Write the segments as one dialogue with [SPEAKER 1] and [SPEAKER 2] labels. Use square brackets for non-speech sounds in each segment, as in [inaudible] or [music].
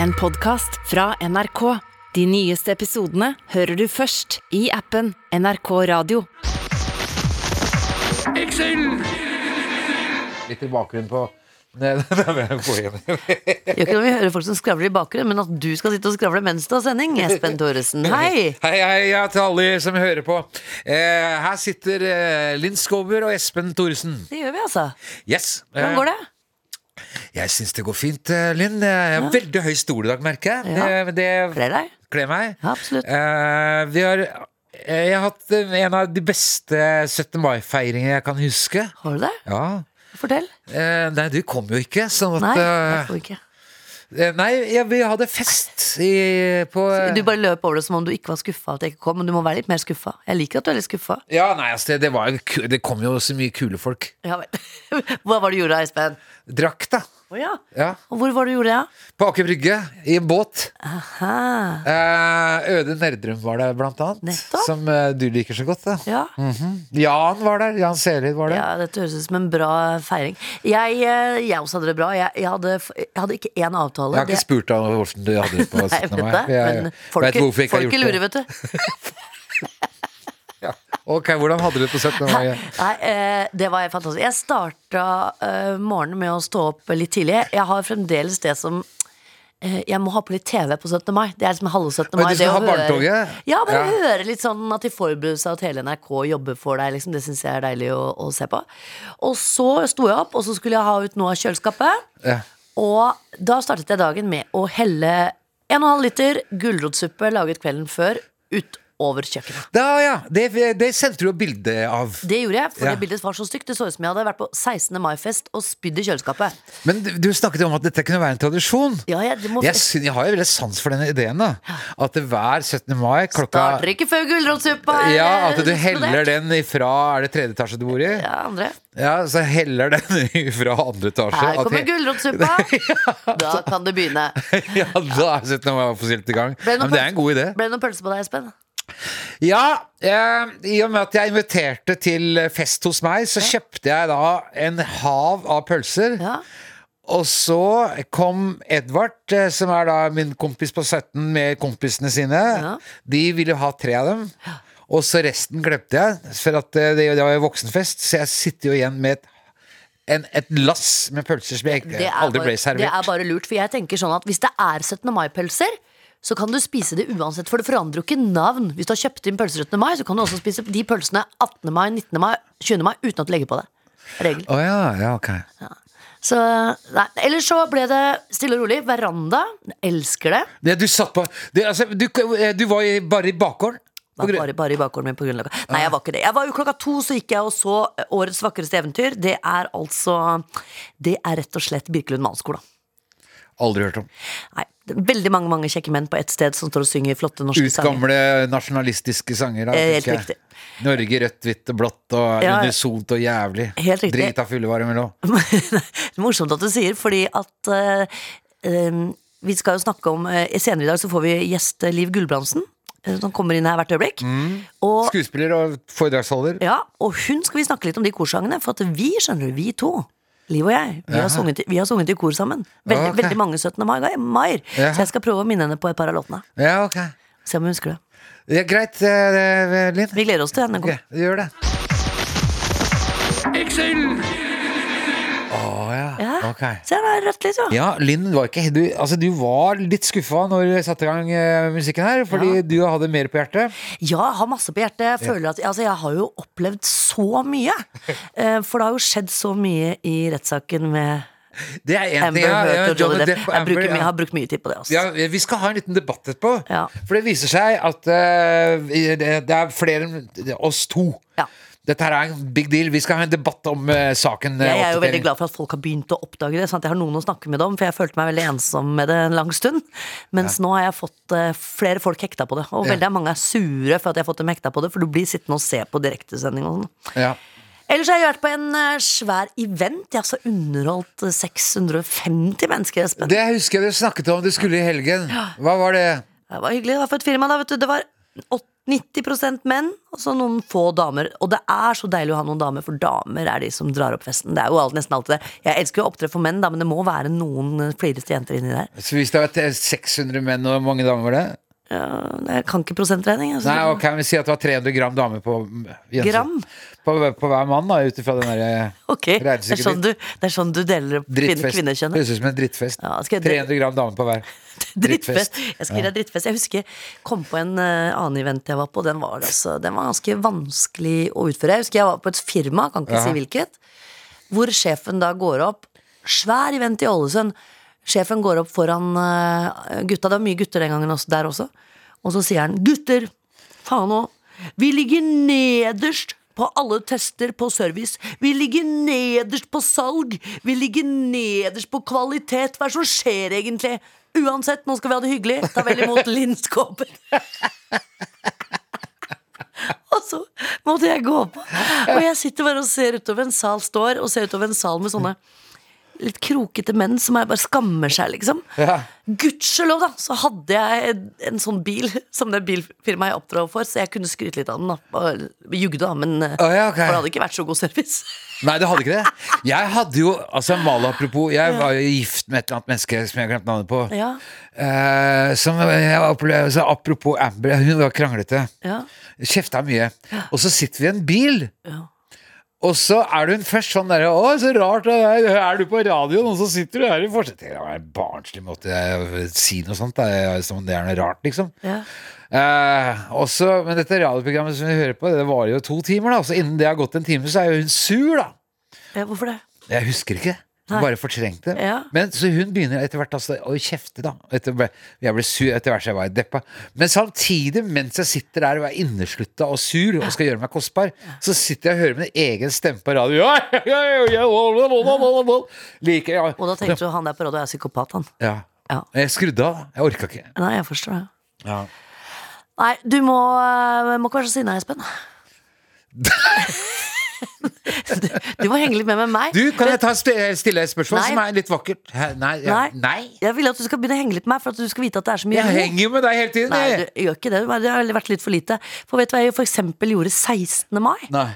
[SPEAKER 1] En podcast fra NRK. De nyeste episodene hører du først i appen NRK Radio.
[SPEAKER 2] litt i bakgrunnen på Nei, [laughs] da må jeg gå inn.
[SPEAKER 3] Gjør ikke noe vi hører folk som skravler i bakgrunnen, men at du skal sitte og skravle mens du har sending, Espen
[SPEAKER 1] [laughs]
[SPEAKER 3] Thoresen. Hei!
[SPEAKER 2] Hei, hei ja, til alle som hører på. Eh, her sitter eh, Linn Skåber og Espen Thoresen.
[SPEAKER 3] Det gjør vi, altså.
[SPEAKER 2] Yes. Eh,
[SPEAKER 3] Hvordan går det?
[SPEAKER 2] Jeg syns det går fint, eh, Linn. Jeg har veldig høy stol i dag, merker jeg.
[SPEAKER 3] Ja.
[SPEAKER 2] Eh, men det-
[SPEAKER 3] Kler deg?
[SPEAKER 2] Kle meg.
[SPEAKER 3] Ja, absolutt.
[SPEAKER 2] Eh, vi har eh, jeg har hatt eh, en av de beste 17. mai-feiringene jeg kan huske.
[SPEAKER 3] Har du det?
[SPEAKER 2] Ja.
[SPEAKER 3] Fortell.
[SPEAKER 2] Eh, nei, du kom jo ikke, sånn at
[SPEAKER 3] Nei,
[SPEAKER 2] eh,
[SPEAKER 3] jeg får ikke.
[SPEAKER 2] eh, Nei, ja, vi hadde fest i, på eh,
[SPEAKER 3] Du bare løp over det som om du ikke var skuffa at jeg ikke kom, men du må være litt mer skuffa. Jeg liker at du er litt skuffa.
[SPEAKER 2] Ja, nei, altså, det, det, var, jo ku- det kom jo så mye kule folk.
[SPEAKER 3] Ja vel. [laughs] Hva var det du gjorde, Espen?
[SPEAKER 2] Drakk, da.
[SPEAKER 3] Å ja.
[SPEAKER 2] Ja.
[SPEAKER 3] Og hvor var det du gjorde det? Ja?
[SPEAKER 2] På Aker Brygge, i en båt.
[SPEAKER 3] Aha.
[SPEAKER 2] Eh, Øde Nerdrum var der, blant annet.
[SPEAKER 3] Nettopp.
[SPEAKER 2] Som eh, du liker så godt. Da. Mhm.
[SPEAKER 3] Ja.
[SPEAKER 2] Mm. Jan var der. Jan Selid var der.
[SPEAKER 3] ja, dette høres ut som en bra feiring. Jeg, eh, jeg også hadde det bra. Jeg, jeg, hadde, f- jeg hadde ikke én avtale.
[SPEAKER 2] Jeg har
[SPEAKER 3] Det-
[SPEAKER 2] ikke spurt deg om hvordan du hadde det
[SPEAKER 3] [laughs]
[SPEAKER 2] på
[SPEAKER 3] Nei,
[SPEAKER 2] 17.
[SPEAKER 3] vet
[SPEAKER 2] mai.
[SPEAKER 3] du,
[SPEAKER 2] for Jeg
[SPEAKER 3] men
[SPEAKER 2] vet
[SPEAKER 3] folket,
[SPEAKER 2] hvorfor jeg ikke har
[SPEAKER 3] folket
[SPEAKER 2] gjort
[SPEAKER 3] lurer,
[SPEAKER 2] det.
[SPEAKER 3] vet du.
[SPEAKER 2] Ok, Hvordan hadde du det på 17. mai?
[SPEAKER 3] Nei, eh, det var helt fantastisk. Jeg starta eh, morgenen med å stå opp litt tidlig. Jeg har fremdeles det som eh, Jeg må ha på litt TV på 17. mai. Det er liksom halve 17.
[SPEAKER 2] Men
[SPEAKER 3] mai.
[SPEAKER 2] du skal
[SPEAKER 3] det å
[SPEAKER 2] ha
[SPEAKER 3] høre-
[SPEAKER 2] barnetoget?
[SPEAKER 3] Ja, bare
[SPEAKER 2] Ja.
[SPEAKER 3] høre litt sånn at de forbereder seg, at hele NRK jobber for deg. Liksom. Det syns jeg er deilig å, å se på. Og så sto jeg opp, og så skulle jeg ha ut noe av kjøleskapet.
[SPEAKER 2] Ja.
[SPEAKER 3] Og da startet jeg dagen med å helle 1,5 liter gulrotsuppe laget kvelden før utover kjøkkenet.
[SPEAKER 2] Da, ja, det, det sendte du jo bilde av.
[SPEAKER 3] Det gjorde jeg, for
[SPEAKER 2] Ja.
[SPEAKER 3] det bildet var så stygt. Det så ut som jeg hadde vært på 16. mai-fest og spydd i kjøleskapet.
[SPEAKER 2] Men du- du snakket jo om at dette kunne være en tradisjon.
[SPEAKER 3] Ja, jeg, det må
[SPEAKER 2] Jeg, syn- jeg har jo veldig sans for denne ideen. da At det hver 17. mai klokka
[SPEAKER 3] Starter ikke før gulrotsuppa er
[SPEAKER 2] ja, At du
[SPEAKER 3] eksplodert.
[SPEAKER 2] heller den ifra Er det tredje etasje du bor i?
[SPEAKER 3] Ja, andre.
[SPEAKER 2] Ja, så heller den [laughs] ifra andre etasje.
[SPEAKER 3] Her
[SPEAKER 2] At
[SPEAKER 3] kommer
[SPEAKER 2] he-
[SPEAKER 3] gulrotsuppa! Da kan det begynne.
[SPEAKER 2] [laughs] Ja, da er 17. mai offisielt i gang.
[SPEAKER 3] Ble det
[SPEAKER 2] Ja,
[SPEAKER 3] noen
[SPEAKER 2] Men det er en god idé.
[SPEAKER 3] Ble det noen pølse på deg, Espen?
[SPEAKER 2] Ja, eh, i og med at jeg inviterte til fest hos meg, så kjøpte jeg da en hav av pølser.
[SPEAKER 3] Ja.
[SPEAKER 2] Og så kom Edvard, eh, som er da min kompis på 17 med kompisene sine.
[SPEAKER 3] Ja.
[SPEAKER 2] De ville ha tre av dem. Og så resten glemte jeg, for at eh, det, det var jo voksenfest, så jeg sitter jo igjen med et en, et lass med pølser som jeg ikke-
[SPEAKER 3] Det er,
[SPEAKER 2] aldri
[SPEAKER 3] bare,
[SPEAKER 2] ble
[SPEAKER 3] det er
[SPEAKER 2] servert.
[SPEAKER 3] bare lurt, for jeg tenker sånn at hvis det er 17. mai-pølser, så kan du spise det uansett, for det forandrer jo ikke navn. Hvis du har kjøpt inn pølser 17. mai, så kan du også spise de pølsene 18. mai, 19. mai, 20. mai uten at du legger på det. Regel.
[SPEAKER 2] Å ja, ja, ok.
[SPEAKER 3] Så, nei, ellers så ble det stille og rolig. Veranda. Elsker det.
[SPEAKER 2] Det, du satt på det, altså, du, eh, du var i, bare i bakgården? på
[SPEAKER 3] Var
[SPEAKER 2] grunn-
[SPEAKER 3] bare, bare i bakgården min på grunnlaget. Nei, jeg var ikke det. Jeg var jo klokka to, så gikk jeg og så Årets vakreste eventyr. Det er altså Det er rett og slett Birkelund Malskola.
[SPEAKER 2] Aldri hørt om.
[SPEAKER 3] Nei, det er veldig mange mange kjekke menn på ett sted som står og synger flotte norske
[SPEAKER 2] Ut
[SPEAKER 3] sanger. [laughs]
[SPEAKER 2] gamle nasjonalistiske sanger. Da,
[SPEAKER 3] Eh, helt
[SPEAKER 2] tenker jeg.
[SPEAKER 3] riktig.
[SPEAKER 2] Norge rødt, hvitt og blått og
[SPEAKER 3] Ja, ja.
[SPEAKER 2] unisont og jævlig.
[SPEAKER 3] Helt riktig.
[SPEAKER 2] Drita fullevare mellom.
[SPEAKER 3] Det er Morsomt at du sier, fordi at eh, eh, vi skal jo snakke om eh, Senere i dag så får vi gjest eh, Liv Gulbrandsen, eh, som kommer inn her hvert øyeblikk.
[SPEAKER 2] Mm.
[SPEAKER 3] Og,
[SPEAKER 2] Skuespiller og foredragsholder.
[SPEAKER 3] ja, og hun skal vi snakke litt om de korsangene, for at vi skjønner du, vi to. Liv og jeg. Vi har,
[SPEAKER 2] Jaha.
[SPEAKER 3] sunget, i- vi har sunget i kor sammen. Veldig,
[SPEAKER 2] Ok.
[SPEAKER 3] veldig mange 17. mai. mai.
[SPEAKER 2] Jaha.
[SPEAKER 3] Så jeg skal prøve å minne henne på et par av låtene.
[SPEAKER 2] Ja, ok.
[SPEAKER 3] Se om hun husker det.
[SPEAKER 2] Ja, greit, eh, eh, Linn.
[SPEAKER 3] Vi gleder oss til henne.
[SPEAKER 2] Ok,
[SPEAKER 3] kommer.
[SPEAKER 2] gjør det. Å ja.
[SPEAKER 3] Ja.
[SPEAKER 2] Ok.
[SPEAKER 3] Se, det er rødt lys, ja.
[SPEAKER 2] Ja, Linn, var ikke, du, altså, du var litt skuffa når vi satte i gang eh, musikken her, fordi du hadde mer på hjertet.
[SPEAKER 3] Ja, jeg har masse på hjertet. Jeg, føler at, altså, jeg har jo opplevd så mye. Eh, For det har jo skjedd så mye i rettssaken med
[SPEAKER 2] Det er en ting,
[SPEAKER 3] Amber
[SPEAKER 2] ja, ja,
[SPEAKER 3] Heard og
[SPEAKER 2] Johnny
[SPEAKER 3] Johnny Depp.
[SPEAKER 2] Depp og
[SPEAKER 3] Jeg, bruker,
[SPEAKER 2] Amber,
[SPEAKER 3] mye-
[SPEAKER 2] ja.
[SPEAKER 3] jeg har brukt mye tid på det også.
[SPEAKER 2] Ja, vi skal ha en liten debatt etterpå.
[SPEAKER 3] Ja.
[SPEAKER 2] For det viser seg at eh, vi- det det er flere enn oss to.
[SPEAKER 3] Ja.
[SPEAKER 2] Dette her er en big deal. Vi skal ha en debatt om eh, saken. eh,
[SPEAKER 3] Jeg er jo
[SPEAKER 2] oppdatering.
[SPEAKER 3] veldig glad for at folk har begynt å oppdage det, sånn at jeg har noen å snakke med det om, for jeg følte meg veldig ensom med det en lang stund. Mens nå har jeg fått eh, flere folk hekta på det, og
[SPEAKER 2] Ja.
[SPEAKER 3] veldig mange er sure for at jeg har fått dem hekta på det, for du blir sittende og se på direktesending og sånn.
[SPEAKER 2] Ja.
[SPEAKER 3] Ellers har jeg vært på en eh, svær event. Jeg har altså underholdt eh, 650 mennesker, Espen.
[SPEAKER 2] Det husker jeg dere snakket om du skulle i helgen. Hva var det?
[SPEAKER 3] Det var hyggelig. Det var for et firma, da, vet du. Det var åt- 90 menn og så noen få damer. Og det er så deilig å ha noen damer, for damer er de som drar opp festen. Det er jo alt, nesten alltid det. Jeg elsker jo å opptre for menn, da, men det må være noen eh, flirete jenter inni der.
[SPEAKER 2] Så hvis det har vært eh, 600 menn og hvor mange damer var det?
[SPEAKER 3] Ja, jeg kan ikke prosentregning. Altså.
[SPEAKER 2] Nei, ok, vi sier at det var 300 gram damer på Jensen.
[SPEAKER 3] Gram?
[SPEAKER 2] På, på hver mann, da, ut ifra
[SPEAKER 3] [laughs]
[SPEAKER 2] den derre
[SPEAKER 3] [laughs] Ok, det er, sånn du, det er sånn du deler opp kvinne,
[SPEAKER 2] drittfest.
[SPEAKER 3] kvinnekjønnet.
[SPEAKER 2] Høres ut som en drittfest.
[SPEAKER 3] Ja, skal jeg-
[SPEAKER 2] 300 gram damer på hver.
[SPEAKER 3] [laughs] Drittfest. Jeg skal gi deg drittfest. Jeg husker jeg kom på en eh, annen event jeg var på. Den var, altså, den var ganske vanskelig å utføre. Jeg husker jeg var på et firma, kan ikke
[SPEAKER 2] Ja.
[SPEAKER 3] si hvilket, hvor sjefen da går opp. Svær event i Ålesund. Sjefen går opp foran eh, gutta. Det var mye gutter den gangen også, der også. Og så sier han 'gutter, faen òg, vi ligger nederst'. På alle tester på service. Vi ligger nederst på salg. Vi ligger nederst på kvalitet. Hva er det som skjer egentlig? Uansett, nå skal vi ha det hyggelig. Ta vel imot Lindskåpen. Og så måtte jeg gå på. Og jeg sitter bare og ser utover en sal, står og ser utover en sal med sånne litt krokete menn som er bare skammer seg, liksom.
[SPEAKER 2] Ja.
[SPEAKER 3] Gudskjelov, da, så hadde jeg en, en sånn bil [laughs] som det bilfirmaet jeg oppdra for, så jeg kunne skryte litt av den, da. Og Jugde, da, men eh,
[SPEAKER 2] Å, ja, ok.
[SPEAKER 3] For det hadde ikke vært så god service. [laughs]
[SPEAKER 2] Nei, det hadde ikke det. Jeg hadde jo Altså, Mala apropos, jeg var jo gift med et eller annet menneske som jeg har glemt navnet på.
[SPEAKER 3] Ja.
[SPEAKER 2] Eh, som jeg opplevde, så apropos Amber, hun var kranglete.
[SPEAKER 3] Ja.
[SPEAKER 2] Kjefta mye. Og så sitter vi i en bil.
[SPEAKER 3] Ja.
[SPEAKER 2] Og så er hun først sånn derre Å, så rart. det Er Er du på radioen, og så sitter du her i forsetet. Det var en barnslig måte å si noe sånt. da. Som om det er noe rart, liksom.
[SPEAKER 3] Ja.
[SPEAKER 2] Eh, også, men dette radioprogrammet som vi hører på, det varer jo to timer. da Så innen det har gått en time, så er jo hun sur, da.
[SPEAKER 3] ja, hvorfor det?
[SPEAKER 2] Jeg husker ikke. Hun
[SPEAKER 3] Nei.
[SPEAKER 2] bare fortrengte. det.
[SPEAKER 3] Ja.
[SPEAKER 2] Men så hun begynner etter hvert altså, å kjefte, da. Etter, jeg ble sur etter hvert som jeg var deppa. Men samtidig, mens jeg sitter der og er inneslutta og sur og skal gjøre meg kostbar, så sitter jeg og hører min egen stemme på radio. Ja, ja, ja, ja, ja, ja, ja, ja. Like, ja.
[SPEAKER 3] Og da tenkte du han der på radio er psykopat, han.
[SPEAKER 2] ja.
[SPEAKER 3] Ja.
[SPEAKER 2] Jeg skrudde av. Jeg orka ikke.
[SPEAKER 3] Nei, jeg forstår det.
[SPEAKER 2] Ja.
[SPEAKER 3] Nei, du må, eh, må ikke være så sinna,
[SPEAKER 2] [laughs]
[SPEAKER 3] Espen. du, du må henge litt med med meg.
[SPEAKER 2] Du, kan jeg ta sp- stille et spørsmål
[SPEAKER 3] Nei.
[SPEAKER 2] som er litt vakkert? Hæ, Nei. Ja.
[SPEAKER 3] Nei.
[SPEAKER 2] Nei.
[SPEAKER 3] Jeg vil at du skal begynne å henge litt med meg, for at du skal vite at det er så mye
[SPEAKER 2] Jeg
[SPEAKER 3] ro.
[SPEAKER 2] henger jo med deg hele tiden,
[SPEAKER 3] Nei,
[SPEAKER 2] jeg.
[SPEAKER 3] du gjør ikke det. Det har vært litt for lite. For vet du hva jeg for eksempel gjorde 16. mai?
[SPEAKER 2] Nei.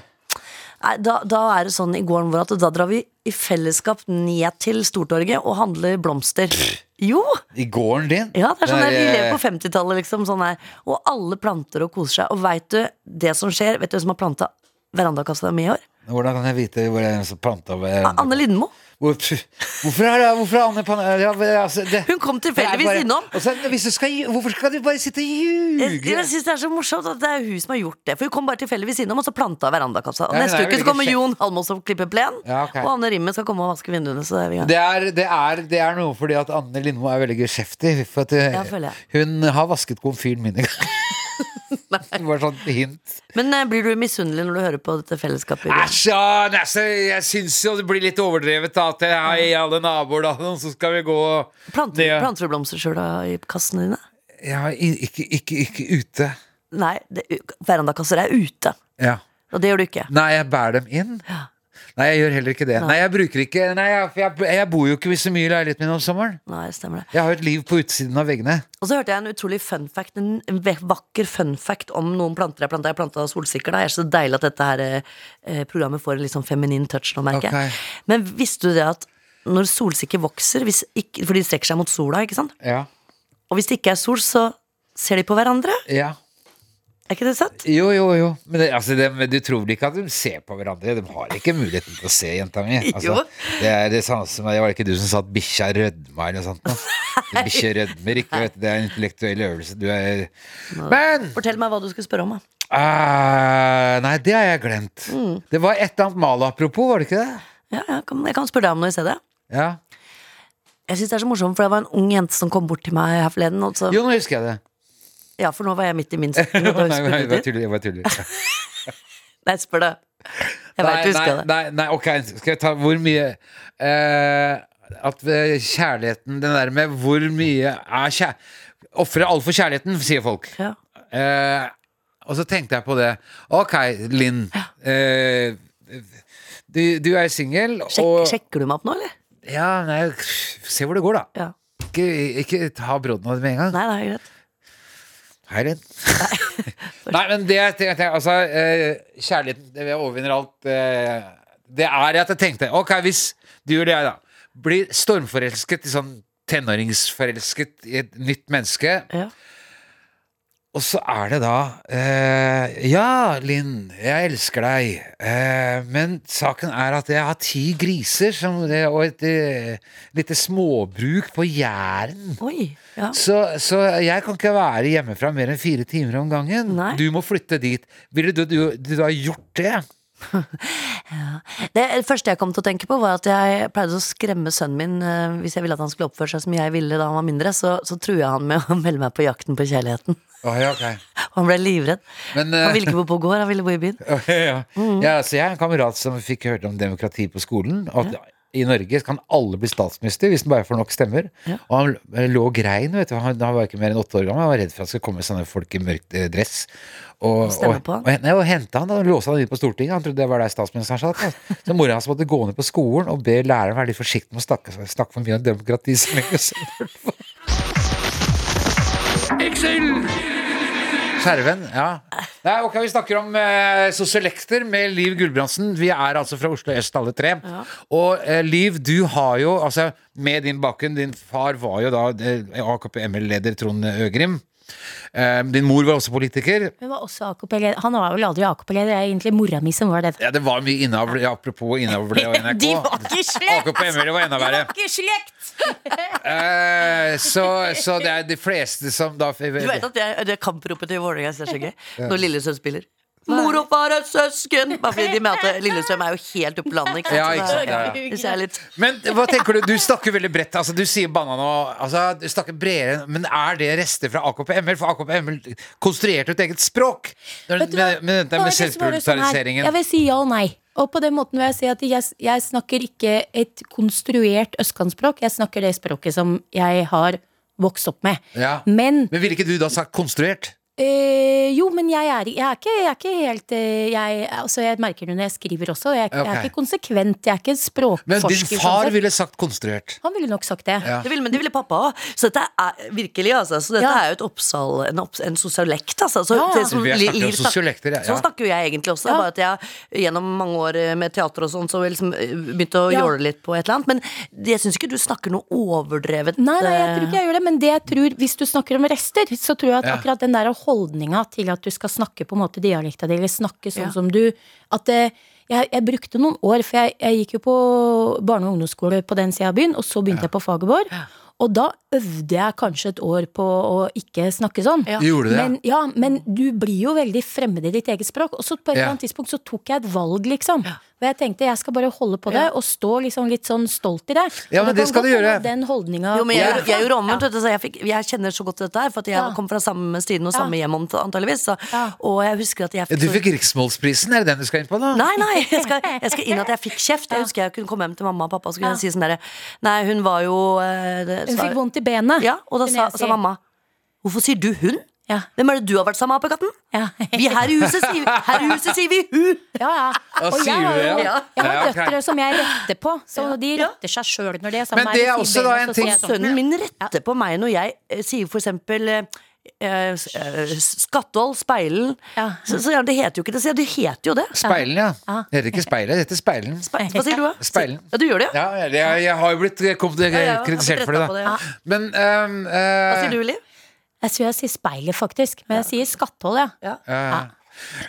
[SPEAKER 3] Nei, da, da er det sånn i gården vår at da drar vi i fellesskap ned til Stortorget og handler blomster. Jo!
[SPEAKER 2] I gården din?
[SPEAKER 3] Ja, det er sånn
[SPEAKER 2] Den
[SPEAKER 3] der, Vi lever
[SPEAKER 2] eh,
[SPEAKER 3] på 50-tallet, liksom. Sånn her. Og alle planter og koser seg. Og veit du det som skjer? Vet du hvem som har planta verandakassa mi i år?
[SPEAKER 2] Hvordan kan jeg vite hvor jeg er som planta ved-
[SPEAKER 3] Ah, Anne Lindmo.
[SPEAKER 2] Hvor, pff, hvorfor er det Hvorfor er Anne Pan... Ja, men altså, det,
[SPEAKER 3] Hun kom tilfeldigvis
[SPEAKER 2] det er bare-
[SPEAKER 3] innom.
[SPEAKER 2] Og så, hvis du skal, lju- hvorfor skal du bare sitte og
[SPEAKER 3] Jeg,
[SPEAKER 2] ljuge?
[SPEAKER 3] jeg synes Det er så morsomt at det er hun som har gjort det. For Hun kom bare tilfeldigvis innom og så planta verandakassa. Og
[SPEAKER 2] Ja,
[SPEAKER 3] Neste
[SPEAKER 2] det er
[SPEAKER 3] uke
[SPEAKER 2] veldig
[SPEAKER 3] så kommer
[SPEAKER 2] kjekt.
[SPEAKER 3] Jon Halmås og klipper plen.
[SPEAKER 2] Ja, ok.
[SPEAKER 3] Og Anne Rimmen skal komme og vaske vinduene. Så er vi i gang.
[SPEAKER 2] Det er, det, er, det er noe fordi at Anne Lindmo er veldig geskjeftig. For at, eh,
[SPEAKER 3] Ja, føler jeg.
[SPEAKER 2] hun har vasket komfyren min en
[SPEAKER 3] [laughs]
[SPEAKER 2] gang. Det var sånn hint.
[SPEAKER 3] Men eh, blir du misunnelig når du hører på dette fellesskapet? i går?
[SPEAKER 2] Æsj, ja! nei, så Jeg syns jo det blir litt overdrevet da, at hei, alle naboer, da, og så skal vi gå og-
[SPEAKER 3] Planter,
[SPEAKER 2] Det-
[SPEAKER 3] planter du blomster sjøl i kassene dine?
[SPEAKER 2] Ja, i- ikke, ikke, ikke ute.
[SPEAKER 3] Nei, det, verandakasser er ute.
[SPEAKER 2] Ja.
[SPEAKER 3] Og det gjør du ikke.
[SPEAKER 2] Nei, jeg bærer dem inn. Nei, jeg gjør heller ikke det. Nei, jeg bruker ikke Nei, jeg, jeg, jeg bor jo ikke så mye i leiligheten min om sommeren.
[SPEAKER 3] Nei, stemmer det.
[SPEAKER 2] Jeg har jo et liv på utsiden av veggene.
[SPEAKER 3] Og så hørte jeg en utrolig fun fact, en ve- vakker fun fact om noen planter jeg planta. Jeg planta solsikker. da. Jeg er så deilig at dette her eh, eh, programmet får en litt sånn feminin touch nå, merker jeg.
[SPEAKER 2] Ok.
[SPEAKER 3] Men visste du det at når solsikker vokser, hvis ikke, for de strekker seg mot sola, ikke sant?
[SPEAKER 2] Ja.
[SPEAKER 3] Og hvis det ikke er sol, så ser de på hverandre.
[SPEAKER 2] ja.
[SPEAKER 3] Er ikke det sant?
[SPEAKER 2] Jo, jo, jo. Men, det, altså, det, men du tror vel ikke at de ser på hverandre? De har ikke muligheten til å se jenta mi. Altså,
[SPEAKER 3] Jo.
[SPEAKER 2] det er det samme som Det var ikke du som sa at bikkja rødma eller noe sånt? nå? Bikkje rødmer ikke, vet du. Det er en intellektuell øvelse. Du er Men!
[SPEAKER 3] Fortell meg hva du skulle spørre om. da
[SPEAKER 2] ah, nei, det har jeg glemt. Det var et eller annet mal apropos, var det ikke det?
[SPEAKER 3] Ja, ja, kom, jeg kan spørre deg om noe i stedet.
[SPEAKER 2] Ja.
[SPEAKER 3] Jeg synes det er så morsomt, for det var en ung jente som kom bort til meg her forleden. Og så,
[SPEAKER 2] Jo, nå husker jeg det.
[SPEAKER 3] ja, for nå var jeg midt
[SPEAKER 2] [laughs]
[SPEAKER 3] i min
[SPEAKER 2] Nei, nei, jeg bare
[SPEAKER 3] Nei,
[SPEAKER 2] tuller. Jeg bare tuller.
[SPEAKER 3] spør det. Jeg
[SPEAKER 2] Nei,
[SPEAKER 3] vet du
[SPEAKER 2] nei,
[SPEAKER 3] husker det.
[SPEAKER 2] nei, nei, ok, skal jeg ta hvor mye eh, At eh, kjærligheten, den der med hvor mye er kjær... Ofre alt for kjærligheten, sier folk.
[SPEAKER 3] Ja.
[SPEAKER 2] Eh, og så tenkte jeg på det. Ok, Linn. eh, du, du er singel,
[SPEAKER 3] Sjek,
[SPEAKER 2] og
[SPEAKER 3] Sjekker du meg opp nå, eller?
[SPEAKER 2] Ja, nei, se hvor det går, da.
[SPEAKER 3] Ja.
[SPEAKER 2] Ikke, ikke ta brodden av det med en gang.
[SPEAKER 3] Nei, det er greit.
[SPEAKER 2] Hei, Linn. Nei, [laughs] men det jeg tenkte Altså, eh, kjærligheten det overvinner alt. eh, Det er at jeg tenkte Ok, hvis du eller jeg da blir stormforelsket i sånn tenåringsforelsket i et nytt menneske,
[SPEAKER 3] Ja.
[SPEAKER 2] og så er det da eh, Ja, Linn, jeg elsker deg. eh, men saken er at jeg har ti griser som, og et eh, lite småbruk på Jæren.
[SPEAKER 3] Oi. Ja.
[SPEAKER 2] Så, så jeg kan ikke være hjemmefra mer enn fire timer om gangen.
[SPEAKER 3] Nei.
[SPEAKER 2] Du må flytte dit. Ville du, du, du da gjort det?
[SPEAKER 3] Det første jeg kom til å tenke på, var at jeg pleide å skremme sønnen min eh, hvis jeg ville at han skulle oppføre seg som jeg ville da han var mindre. Så, så trua jeg han med å [laughs] melde meg på Jakten på kjærligheten. [laughs]
[SPEAKER 2] Å, ja, ok.
[SPEAKER 3] Og han ble livredd.
[SPEAKER 2] Men, eh,
[SPEAKER 3] Han ville ikke bo på gård, han ville bo i byen.
[SPEAKER 2] ja, [laughs] ja.
[SPEAKER 3] Mm.
[SPEAKER 2] ja, så jeg er en kamerat som fikk hørt om demokrati på skolen. Og at i Norge kan alle bli statsminister hvis den bare får nok stemmer. Og han eh, lå og grein, vet du. Han, han var ikke mer enn åtte år gammel. Han var redd for at det skulle komme sånne folk i mørkt eh, dress. Og,
[SPEAKER 3] stemme
[SPEAKER 2] og,
[SPEAKER 3] på han?
[SPEAKER 2] og, nei, og hente han, da, og låse han inn på Stortinget. Han trodde det var der statsministeren satt. Altså. Så mora hans måtte gå ned på skolen og be læreren være litt forsiktig med å snakke, snakke for mye om demokrati. Så lenge som mulig. Skjerven, ja. Nei, ok, Vi snakker om eh, sosiolekter med Liv Gulbrandsen. Vi er altså fra Oslo øst, alle tre. Og eh, Liv, du har jo, altså med din bakgrunn Din far var jo da eh, AKP-ML-leder Trond Øgrim. Eh, din mor var også politiker.
[SPEAKER 4] Hun var også AKP-leder. Han var vel aldri AKP-leder, det er egentlig mora mi som var det.
[SPEAKER 2] Ja, Det var mye innavl. ja, Apropos innavl og NRK.
[SPEAKER 4] [laughs] De
[SPEAKER 2] [laughs]
[SPEAKER 4] var ikke slekt!
[SPEAKER 2] AKP-ML var enda
[SPEAKER 4] De var
[SPEAKER 2] verre.
[SPEAKER 4] ikke slekt!
[SPEAKER 2] Eh, så, så det er de fleste som da
[SPEAKER 3] Du vet at jeg, det er kampropet til Vålerenga jeg ser så gøy når Lillesøm spiller. Mor og far er søsken! Bare fordi de
[SPEAKER 2] [laughs]
[SPEAKER 3] møter Lillesøm er jo helt oppe på landet. Ikke sant?
[SPEAKER 2] Ja, ikke
[SPEAKER 3] Så
[SPEAKER 2] sant,
[SPEAKER 3] det
[SPEAKER 2] ja,
[SPEAKER 3] er-
[SPEAKER 2] ja.
[SPEAKER 3] Hvis jeg er litt
[SPEAKER 2] Men hva tenker du? Du snakker veldig bredt. Altså, du sier banan og altså, Du snakker bredere, men er det rester fra AKP-ML? For AKP-ML konstruerte et eget språk. Når,
[SPEAKER 4] Vet du hva?
[SPEAKER 2] med, med dette med
[SPEAKER 4] Det var liksom bare sånn her.
[SPEAKER 2] selvpolariseringen.
[SPEAKER 4] Jeg vil si ja og nei. Og på den måten vil jeg si at jeg, jeg snakker ikke et konstruert østkantspråk. Jeg snakker det språket som jeg har vokst opp med.
[SPEAKER 2] Ja.
[SPEAKER 4] Men
[SPEAKER 2] Men ville ikke du da sagt konstruert?
[SPEAKER 4] eh, Jo, men jeg er, jeg er, ikke, jeg er ikke helt eh, jeg, altså jeg merker det når jeg skriver også. Jeg, jeg er
[SPEAKER 2] Ok.
[SPEAKER 4] ikke konsekvent. Jeg er ikke språkforsker.
[SPEAKER 2] Men din
[SPEAKER 4] sånn
[SPEAKER 2] far
[SPEAKER 4] sett.
[SPEAKER 2] ville sagt konstruert.
[SPEAKER 4] Han ville nok sagt det.
[SPEAKER 2] Ja.
[SPEAKER 3] det ville, men det ville pappa òg. Så dette er virkelig altså. Så dette
[SPEAKER 4] Ja.
[SPEAKER 3] er jo et oppsal, en, opps, en sosiolekt, altså. Så,
[SPEAKER 4] Ja, ja.
[SPEAKER 3] det som
[SPEAKER 2] Vi har
[SPEAKER 3] Li-
[SPEAKER 2] snakket om
[SPEAKER 3] Liv snak-
[SPEAKER 2] sosiolekter, ja, ja.
[SPEAKER 3] Sånn snakker jo jeg egentlig også. Det er
[SPEAKER 4] Ja.
[SPEAKER 3] Bare at jeg gjennom mange år eh, med teater og sånn, så jeg liksom eh, begynte å
[SPEAKER 4] Ja.
[SPEAKER 3] jåle litt på et eller annet. Men jeg syns ikke du snakker noe overdrevet.
[SPEAKER 4] Nei, nei, jeg tror
[SPEAKER 3] eh,
[SPEAKER 4] ikke jeg gjør det, men det jeg tror, hvis du snakker om rester, så tror jeg at
[SPEAKER 2] Ja.
[SPEAKER 4] akkurat den der holdninga til at du skal snakke på en måte dialekta di, eller snakke sånn
[SPEAKER 3] Ja.
[SPEAKER 4] som du At eh, jeg, jeg brukte noen år, for jeg, jeg gikk jo på barne- og ungdomsskole på den sida av byen, og så begynte jeg på faget vår. Og da øvde jeg kanskje et år på å ikke snakke sånn.
[SPEAKER 3] Ja.
[SPEAKER 2] Du gjorde det?
[SPEAKER 4] Men, ja, men du blir jo veldig fremmed i ditt eget språk. Og så på et
[SPEAKER 2] Ja.
[SPEAKER 4] eller annet tidspunkt så tok jeg et valg, liksom. Og jeg tenkte jeg skal bare holde på det, og stå liksom litt sånn stolt i det.
[SPEAKER 2] Ja,
[SPEAKER 4] Og
[SPEAKER 2] men det
[SPEAKER 4] kan
[SPEAKER 2] skal
[SPEAKER 4] godt
[SPEAKER 2] du
[SPEAKER 4] hende
[SPEAKER 2] gjøre.
[SPEAKER 4] at Den holdninga
[SPEAKER 3] eh, Jo, men jeg,
[SPEAKER 4] Ja.
[SPEAKER 3] jeg gjorde omvendt, vet du, så jeg, fikk, jeg kjenner så godt dette her, for at jeg
[SPEAKER 4] Ja.
[SPEAKER 3] kom fra samme stiden og samme hjem ant- antageligvis. Så,
[SPEAKER 4] Ja.
[SPEAKER 3] og jeg husker at jeg
[SPEAKER 2] Du
[SPEAKER 3] så-
[SPEAKER 2] fikk Riksmålsprisen, er det den du skal inn på nå?
[SPEAKER 3] Nei, nei, jeg skal, jeg skal inn at jeg fikk kjeft. Jeg husker jeg kunne komme hjem til mamma og pappa og så kunne jeg si sånn derre Nei, hun var jo eh, det-
[SPEAKER 4] Hun
[SPEAKER 3] sa-
[SPEAKER 4] fikk vondt i benet.
[SPEAKER 3] Ja, og da
[SPEAKER 4] kunne
[SPEAKER 3] sa,
[SPEAKER 4] jeg si.
[SPEAKER 3] sa mamma Hvorfor sier du hun?
[SPEAKER 4] Ja.
[SPEAKER 3] Hvem er det du har vært sammen med, apekatten? [laughs]
[SPEAKER 4] Ja.
[SPEAKER 3] Vi her i huset sier, her i huset sier vi hun!
[SPEAKER 4] Ja, ja.
[SPEAKER 2] Ja, sier
[SPEAKER 4] jeg
[SPEAKER 2] du
[SPEAKER 4] har
[SPEAKER 2] det,
[SPEAKER 4] jo-
[SPEAKER 2] ja?
[SPEAKER 4] jeg har
[SPEAKER 2] Ja, ok.
[SPEAKER 4] døtre som jeg retter på, så de
[SPEAKER 3] Ja.
[SPEAKER 4] retter seg sjøl når de er
[SPEAKER 2] Men
[SPEAKER 4] sammen med
[SPEAKER 2] det
[SPEAKER 4] meg.
[SPEAKER 2] er
[SPEAKER 4] De
[SPEAKER 2] også
[SPEAKER 4] sier
[SPEAKER 2] da
[SPEAKER 4] benet,
[SPEAKER 2] en
[SPEAKER 4] så
[SPEAKER 2] ting-
[SPEAKER 4] sier jeg sånn.
[SPEAKER 3] Sønnen min retter på meg når jeg eh, sier for eksempel eh, eh, s- eh, Skattoll, Speilen
[SPEAKER 4] Ja.
[SPEAKER 3] Så, så ja, Det heter jo ikke det, så ja, det heter jo det.
[SPEAKER 2] Speilen, ja.
[SPEAKER 3] Ah.
[SPEAKER 2] Det heter ikke Speilet, det heter Speilen.
[SPEAKER 3] Speil- Hva sier du, da?
[SPEAKER 2] Speilen.
[SPEAKER 3] Ja, du gjør det, ja?
[SPEAKER 2] Ja, jeg, jeg, jeg har jo blitt eh, kom,
[SPEAKER 3] ja, jeg har
[SPEAKER 2] kritisert
[SPEAKER 3] blitt
[SPEAKER 2] for det,
[SPEAKER 3] rettet på det,
[SPEAKER 2] da.
[SPEAKER 3] ja.
[SPEAKER 2] Men ehm, eh,
[SPEAKER 3] Hva sier du, Liv?
[SPEAKER 4] Jeg tror jeg sier speilet, faktisk. Men jeg sier skatthold, ja.
[SPEAKER 3] Ja.
[SPEAKER 4] Ja.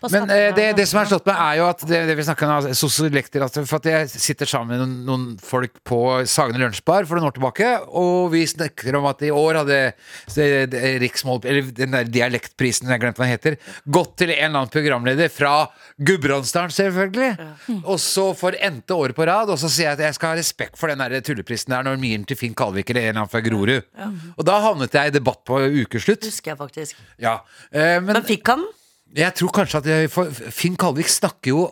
[SPEAKER 4] På
[SPEAKER 2] Men eh,
[SPEAKER 4] skattehold,
[SPEAKER 2] det,
[SPEAKER 4] ja.
[SPEAKER 2] det som er slått meg, er jo at det, det vi snakker om, altså, sosiolekter altså, For at jeg sitter sammen med noen, noen folk på Sagene Lunsjbar for noen år tilbake, og vi snakker om at i år hadde det- det- Riksmål... Eller den der dialektprisen, jeg glemte hva den heter, gått til en eller annen programleder fra Gudbrandsdalen, selvfølgelig. Og så for n-te året på rad, og så sier jeg at jeg skal ha respekt for den der tulleprisen der når Miren til Finn Kalvik eller en eller annen fra Grorud. Og da havnet jeg i debatt på ukeslutt.
[SPEAKER 3] Husker jeg faktisk.
[SPEAKER 2] Ja. Eh, men,
[SPEAKER 3] Men fikk han?
[SPEAKER 2] jeg tror kanskje at jeg, for Finn Kalvik snakker jo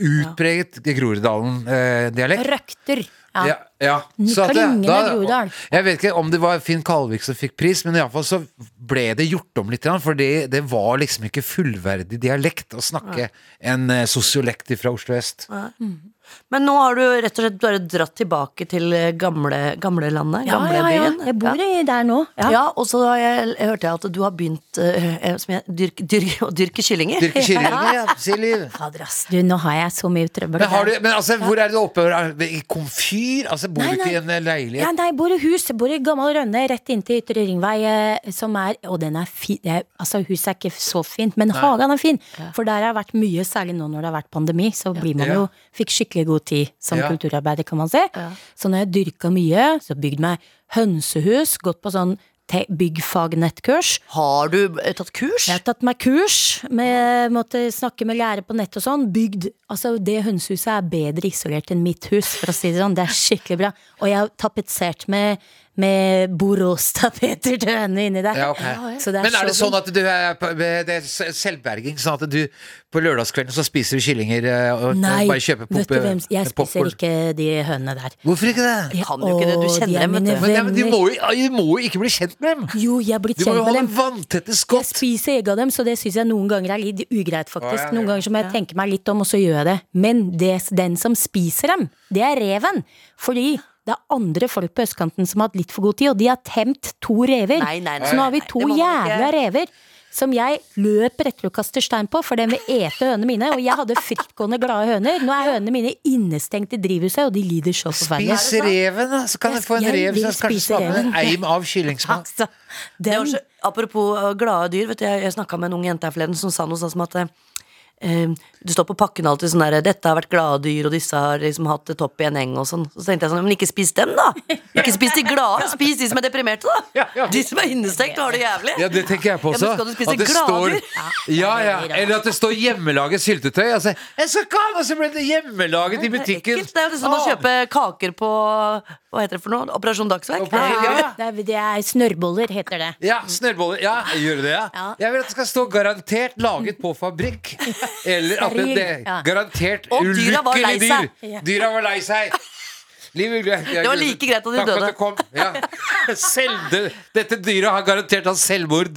[SPEAKER 2] utpreget Groruddalen-dialekt.
[SPEAKER 4] Røkter. Ja.
[SPEAKER 2] ja, ja. Så at det-
[SPEAKER 4] Klingende
[SPEAKER 2] da-
[SPEAKER 4] Groruddal.
[SPEAKER 2] Jeg vet ikke om det var Finn Kalvik som fikk pris, men iallfall så ble det gjort om litt, grann, for det, det var liksom ikke fullverdig dialekt å snakke en eh, sosiolekt fra Oslo øst.
[SPEAKER 3] Men nå har du rett og slett bare dratt tilbake til eh, gamle, gamle landet,
[SPEAKER 4] Ja,
[SPEAKER 3] gamle
[SPEAKER 4] ja, ja.
[SPEAKER 3] byen.
[SPEAKER 4] Jeg bor i der nå.
[SPEAKER 3] Ja.
[SPEAKER 4] Ja.
[SPEAKER 3] og så har jeg, jeg hørte jeg at du har begynt eh, eh, som jeg, dyrk, dyrk, [laughs] å dyrke kyllinger.
[SPEAKER 2] Dyrke kyllinger, ja, Silje.
[SPEAKER 4] Fader, ass. Du, nå har jeg så mye trøbbel.
[SPEAKER 2] Men, har du, men altså, hvor er det du oppbevarer I komfyr? Altså, bor
[SPEAKER 4] Nei,
[SPEAKER 2] du ikke i en eh,
[SPEAKER 4] Ja,
[SPEAKER 2] leilighet?
[SPEAKER 4] nei, jeg bor i hus. Jeg bor i Gammel Rønne, rett inntil Ytre Ringvei. eh, Som er, og den er fin. Altså, huset er ikke så fint, men hagen er fin. For der har jeg vært mye, særlig nå når det har vært pandemi. Så blir man
[SPEAKER 2] Ja.
[SPEAKER 4] jo Fikk skikkelig god tid som
[SPEAKER 2] Ja.
[SPEAKER 4] kulturarbeider, kan man si. Så når jeg dyrka mye, så bygd meg hønsehus, gått på sånn te- byggfagnettkurs.
[SPEAKER 3] Har du eh, tatt kurs?
[SPEAKER 4] Jeg har tatt meg kurs, med, måtte snakke med lærere på nett og sånn. Bygd. Altså, det hønsehuset er bedre isolert enn mitt hus, for å si det sånn. Det er skikkelig bra. Og jeg har tapetsert med, med Borås-tapeter til henne inni der.
[SPEAKER 2] Ja, ok.
[SPEAKER 4] Så det er
[SPEAKER 2] Men er det
[SPEAKER 4] så
[SPEAKER 2] sånn at du er, på- det er se- selvberging? Sånn at du på lørdagskvelden så spiser du kyllinger eh, og,
[SPEAKER 4] Nei,
[SPEAKER 2] og bare kjøper pop,
[SPEAKER 4] vet du hvem Jeg
[SPEAKER 2] eh,
[SPEAKER 4] spiser
[SPEAKER 2] popcorn?
[SPEAKER 4] ikke de hønene der.
[SPEAKER 2] Hvorfor ikke det?
[SPEAKER 4] Jeg
[SPEAKER 3] kan jo ikke det, du kjenner dem, vet
[SPEAKER 4] mine
[SPEAKER 3] du.
[SPEAKER 2] Men, ja, men de,
[SPEAKER 4] venner.
[SPEAKER 2] må jo, de må jo ikke bli kjent med dem!
[SPEAKER 4] Jo, jeg er blitt
[SPEAKER 2] Du må
[SPEAKER 4] kjent
[SPEAKER 2] jo
[SPEAKER 4] med
[SPEAKER 2] ha
[SPEAKER 4] dem.
[SPEAKER 2] dem vanntette
[SPEAKER 4] Jeg
[SPEAKER 2] skott!
[SPEAKER 4] spiser egg av dem, så det syns jeg noen ganger er litt ugreit,
[SPEAKER 2] Å,
[SPEAKER 4] faktisk.
[SPEAKER 2] ja,
[SPEAKER 4] Noen
[SPEAKER 2] ja.
[SPEAKER 4] ganger så må jeg tenke meg litt om, og så gjør jeg det. Men det, den som spiser dem, det er reven. Fordi det er andre folk på østkanten som har hatt litt for god tid, og de har temt to rever.
[SPEAKER 3] Nei, nei, nei,
[SPEAKER 4] så nå har vi
[SPEAKER 3] nei,
[SPEAKER 4] to
[SPEAKER 3] det må man ikke.
[SPEAKER 4] jævla rever. Som jeg løper etter og kaster stein på, for den vil ete hønene mine. Og jeg hadde frittgående glade høner. Nå er hønene mine innestengt i drivhuset, og de lider så forferdelig.
[SPEAKER 2] Spis reven, da! Så kan
[SPEAKER 4] Jeg-
[SPEAKER 2] du få en
[SPEAKER 4] jeg
[SPEAKER 2] rev
[SPEAKER 4] vil
[SPEAKER 2] som kanskje
[SPEAKER 4] spise
[SPEAKER 2] smaker en
[SPEAKER 4] reven.
[SPEAKER 2] eim av kyllingsmak.
[SPEAKER 4] Altså,
[SPEAKER 3] Det
[SPEAKER 4] den,
[SPEAKER 3] var så, apropos eh, glade dyr, vet du, jeg, jeg snakka med en ung jente her forleden som sa noe sånn som at eh, eh, det står på pakken alltid sånn der 'Dette har vært glade dyr, og disse har liksom hatt det topp i en eng', og sånn. Så tenkte jeg sånn, men ikke spis dem, da! Ikke spis de glade, spis de som er deprimerte, da! De som er innestengt og har det jævlig.
[SPEAKER 2] Ja, det tenker jeg på
[SPEAKER 3] Ja,
[SPEAKER 2] også.
[SPEAKER 3] men skal du spise
[SPEAKER 2] At det
[SPEAKER 3] glader?
[SPEAKER 2] står- Ja, ja. Eller at det står hjemmelaget syltetøy. Altså, jeg skal ikke ha noe som ble hjemmelaget i butikken!
[SPEAKER 3] Ekkelt. Det er jo det som å
[SPEAKER 2] Ah.
[SPEAKER 3] kjøpe kaker på Hva heter det for noe? Operasjon Dagsverk?
[SPEAKER 2] Operasjon-
[SPEAKER 3] Ja.
[SPEAKER 2] Ja.
[SPEAKER 4] det er, det er snørrboller, heter det.
[SPEAKER 2] Ja, snørrboller. Ja, jeg gjør det, ja. Jeg vil at det skal stå garantert laget på
[SPEAKER 3] [laughs]
[SPEAKER 2] fabrikk. Eller at det, det
[SPEAKER 4] Ja.
[SPEAKER 2] garantert
[SPEAKER 3] Og dyra var lei
[SPEAKER 2] ulykkelig dyr.
[SPEAKER 3] seg.
[SPEAKER 4] Ja.
[SPEAKER 2] Dyra var lei seg. Liv Ugle, jeg-
[SPEAKER 3] Det var like greit at de
[SPEAKER 2] Takk for
[SPEAKER 3] døde.
[SPEAKER 2] at du kom.
[SPEAKER 3] [laughs]
[SPEAKER 2] Ja. Selv, det, dette dyret har garantert hatt selvmord.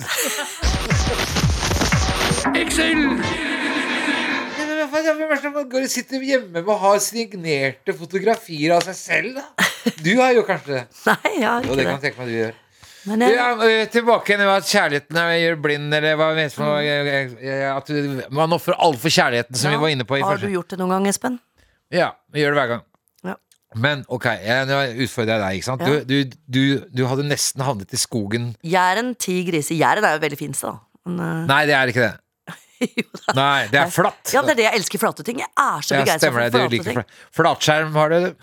[SPEAKER 2] Excel! Men hva faen, Hvem er det som går og sitter hjemme med å ha signerte fotografier av seg selv? da? Du har jo kanskje det.
[SPEAKER 3] Nei, jeg har ikke
[SPEAKER 2] Jo, det kan jeg
[SPEAKER 3] det.
[SPEAKER 2] tenke meg at du gjør.
[SPEAKER 3] Men jeg,
[SPEAKER 2] Ja, eh, tilbake igjen til at kjærligheten er- eh, gjør blind, eller hva vet
[SPEAKER 3] Mm.
[SPEAKER 2] man At du- man ofrer alt for kjærligheten, som vi var inne på i
[SPEAKER 3] har du
[SPEAKER 2] første.
[SPEAKER 3] gjort det noen gang, Espen?
[SPEAKER 2] Ja, vi gjør det hver gang.
[SPEAKER 3] Ja.
[SPEAKER 2] Men ok, jeg, nå utfordrer jeg deg. ikke sant?
[SPEAKER 3] Ja.
[SPEAKER 2] Du, du, du, du hadde nesten havnet i skogen.
[SPEAKER 3] Jæren, ti griser. Jæren er jo veldig fin, da. Men,
[SPEAKER 2] Nei, det er ikke det.
[SPEAKER 3] eh, [laughs] jo da.
[SPEAKER 2] Nei, det er flatt.
[SPEAKER 3] Ja, det er det jeg elsker flate ting. Jeg er så
[SPEAKER 2] Ja,
[SPEAKER 3] begeistra
[SPEAKER 2] stemmer
[SPEAKER 3] for
[SPEAKER 2] det. Du
[SPEAKER 3] flate
[SPEAKER 2] liker
[SPEAKER 3] ting.
[SPEAKER 2] flat. Flatskjerm har du.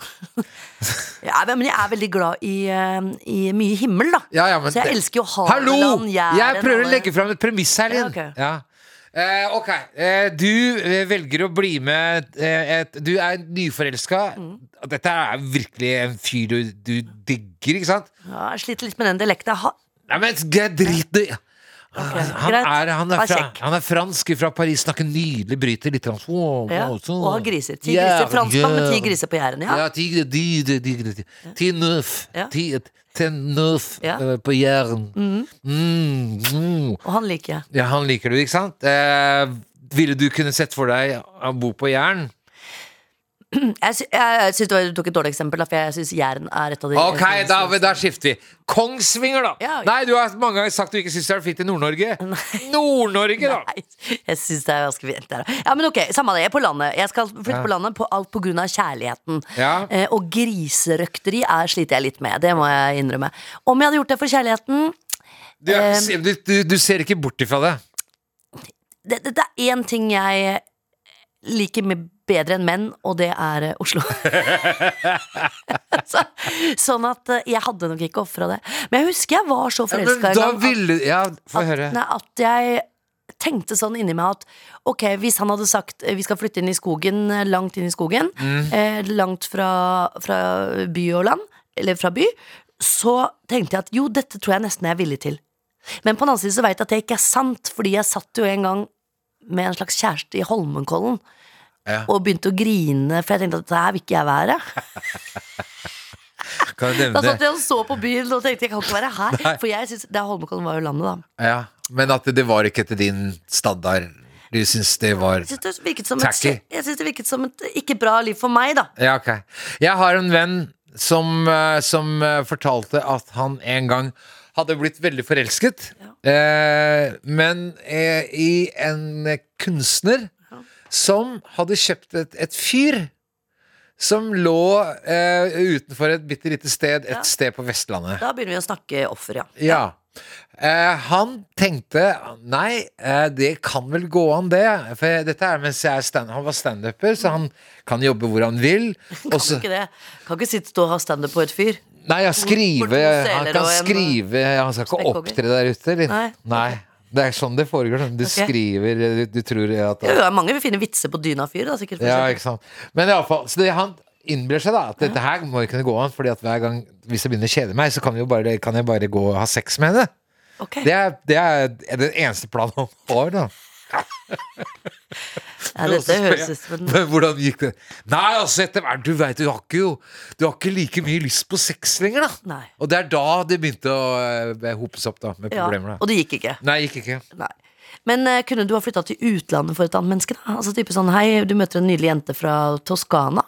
[SPEAKER 3] Jeg er, men jeg er veldig glad i, eh, i mye himmel, da.
[SPEAKER 2] Ja, ja, men
[SPEAKER 3] så jeg
[SPEAKER 2] det-
[SPEAKER 3] elsker jo
[SPEAKER 2] Hallo!
[SPEAKER 3] Hadeland, Jæren
[SPEAKER 2] Jeg prøver å
[SPEAKER 3] alle-
[SPEAKER 2] legge fram et premiss her, Linn.
[SPEAKER 3] Ja, ok.
[SPEAKER 2] Ja. Eh, ok, eh, du eh, velger å bli med eh, et, Du er nyforelska.
[SPEAKER 3] Mm.
[SPEAKER 2] Dette er virkelig en fyr du, du digger, ikke sant?
[SPEAKER 3] Ja, jeg sliter litt med den dialekten. Ha,
[SPEAKER 2] Nei, men det er drit i Ah, han,
[SPEAKER 3] greit.
[SPEAKER 2] er, han, er
[SPEAKER 3] Vær
[SPEAKER 2] fra,
[SPEAKER 3] kjekk.
[SPEAKER 2] han er fransk fra Paris, snakker nydelig, bryter litt fransk. Wow,
[SPEAKER 3] ja.
[SPEAKER 2] wow, så-
[SPEAKER 3] Og har griser. Ti
[SPEAKER 2] Ja,
[SPEAKER 3] griser. Franskmann med
[SPEAKER 2] ja.
[SPEAKER 3] ti griser på Jæren, ja.
[SPEAKER 2] Ja, tigre, digre, digre, digre. Ti nøff.
[SPEAKER 3] Ja.
[SPEAKER 2] Ti, ten nøff
[SPEAKER 3] Ja. Mm-hmm.
[SPEAKER 2] eh, på jæren. Mm, mm.
[SPEAKER 3] Og han liker jeg.
[SPEAKER 2] Ja, han liker du, ikke sant? Eh, ville du kunne sett for deg å bo på Jæren?
[SPEAKER 3] Jeg, sy jeg syns du tok et dårlig eksempel, da, for jeg syns Jæren er et av de
[SPEAKER 2] Ok, da, da skifter vi. Kongsvinger, da!
[SPEAKER 3] Ja.
[SPEAKER 2] Nei, du har mange ganger sagt du ikke syns det er fint i
[SPEAKER 3] [laughs]
[SPEAKER 2] Nord-Norge. Nord-Norge, da!
[SPEAKER 3] Nei, jeg syns det er ganske fint. Der. Ja, men ok, Samme det, jeg er på landet. Jeg skal flytte på landet på alt pga. kjærligheten.
[SPEAKER 2] Ja.
[SPEAKER 3] Eh, og griserøkteri er, sliter jeg litt med. Det må jeg innrømme. Om jeg hadde gjort det for kjærligheten
[SPEAKER 2] Du, er- du, du, du ser ikke bort ifra det.
[SPEAKER 3] Det, det, det er én ting jeg liker med bedre enn menn, og det er eh, Oslo. [laughs] så, sånn at eh, jeg hadde nok ikke ofra det. Men jeg husker jeg var så
[SPEAKER 2] Ja, men
[SPEAKER 3] forelska
[SPEAKER 2] da ville Ja, få høre.
[SPEAKER 3] at, nei, at jeg tenkte sånn inni meg at Ok, hvis han hadde sagt eh, vi skal flytte inn i skogen, eh, langt inn i skogen,
[SPEAKER 2] Mm.
[SPEAKER 3] eh, langt fra, fra by og land, eller fra by, så tenkte jeg at jo, dette tror jeg nesten jeg er villig til. Men på den annen side så veit jeg at det ikke er sant, fordi jeg satt jo en gang med en slags kjæreste i Holmenkollen
[SPEAKER 2] Ja.
[SPEAKER 3] og begynte å grine, for jeg tenkte at det her vil ikke jeg være.
[SPEAKER 2] Kan jeg
[SPEAKER 3] Da
[SPEAKER 2] nevne
[SPEAKER 3] satt jeg og så på byen og tenkte jeg kan ikke være her. For jeg synes, det er Holmenkollen var jo landet, da.
[SPEAKER 2] Ja, men at det var ikke etter din standard. Du syns det var
[SPEAKER 3] Jeg synes det virket som et,
[SPEAKER 2] Tacky.
[SPEAKER 3] jeg synes det virket som et ikke bra liv for meg, da.
[SPEAKER 2] Ja, ok. Jeg har en venn som, eh, som eh, fortalte at han en gang hadde blitt veldig forelsket, eh, men eh, i en eh, kunstner som hadde kjøpt et, et fyr som lå eh, utenfor et bitte lite sted, et sted på Vestlandet.
[SPEAKER 3] Da begynner vi å snakke offer, ja.
[SPEAKER 2] Ja. Eh, han tenkte Nei, eh, det kan vel gå an, det. For jeg- dette er mens jeg er stand han var standuper, så han kan jobbe hvor han vil.
[SPEAKER 3] [laughs]
[SPEAKER 2] Og
[SPEAKER 3] Kan
[SPEAKER 2] så
[SPEAKER 3] ikke det. Kan ikke sitte og ha standup på et fyr.
[SPEAKER 2] Nei, ja, skrive
[SPEAKER 3] Bortpå
[SPEAKER 2] Han
[SPEAKER 3] seler
[SPEAKER 2] kan
[SPEAKER 3] og en-
[SPEAKER 2] skrive Han skal ikke
[SPEAKER 3] Spekkhogger.
[SPEAKER 2] opptre der ute, eller?
[SPEAKER 3] Nei.
[SPEAKER 2] Nei. Det er sånn det foregår. sånn. Du
[SPEAKER 3] Ok.
[SPEAKER 2] skriver Du, du tror at
[SPEAKER 3] Jo, jo, mange vil finne vitser på dyna fyr, da, sikkert. for
[SPEAKER 2] Ja,
[SPEAKER 3] eksempel.
[SPEAKER 2] ikke sant. Men iallfall. Så det, han innbiller seg da at dette her må jo kunne gå an, Fordi at hver gang hvis jeg begynner å kjede meg, så kan, vi jo bare, kan jeg bare gå og ha sex
[SPEAKER 3] [laughs]
[SPEAKER 2] med henne.
[SPEAKER 3] Ok.
[SPEAKER 2] Det er, det er den eneste planen han har, da.
[SPEAKER 3] ja, dette
[SPEAKER 2] Og så spør
[SPEAKER 3] høres
[SPEAKER 2] jeg,
[SPEAKER 3] ut som en
[SPEAKER 2] Men hvordan gikk det? Nei, altså, etter hvert Du vet, du har ikke jo Du har ikke like mye lyst på sex lenger, da.
[SPEAKER 3] Nei.
[SPEAKER 2] Og det er da det begynte å eh, hopes opp, da, med
[SPEAKER 3] Ja,
[SPEAKER 2] problemer. da
[SPEAKER 3] og det gikk ikke.
[SPEAKER 2] Nei, gikk ikke.
[SPEAKER 3] Nei. Men eh, kunne du ha flytta til utlandet for et annet menneske? da? Altså type sånn, Hei, du møter en nydelig jente fra Toskana.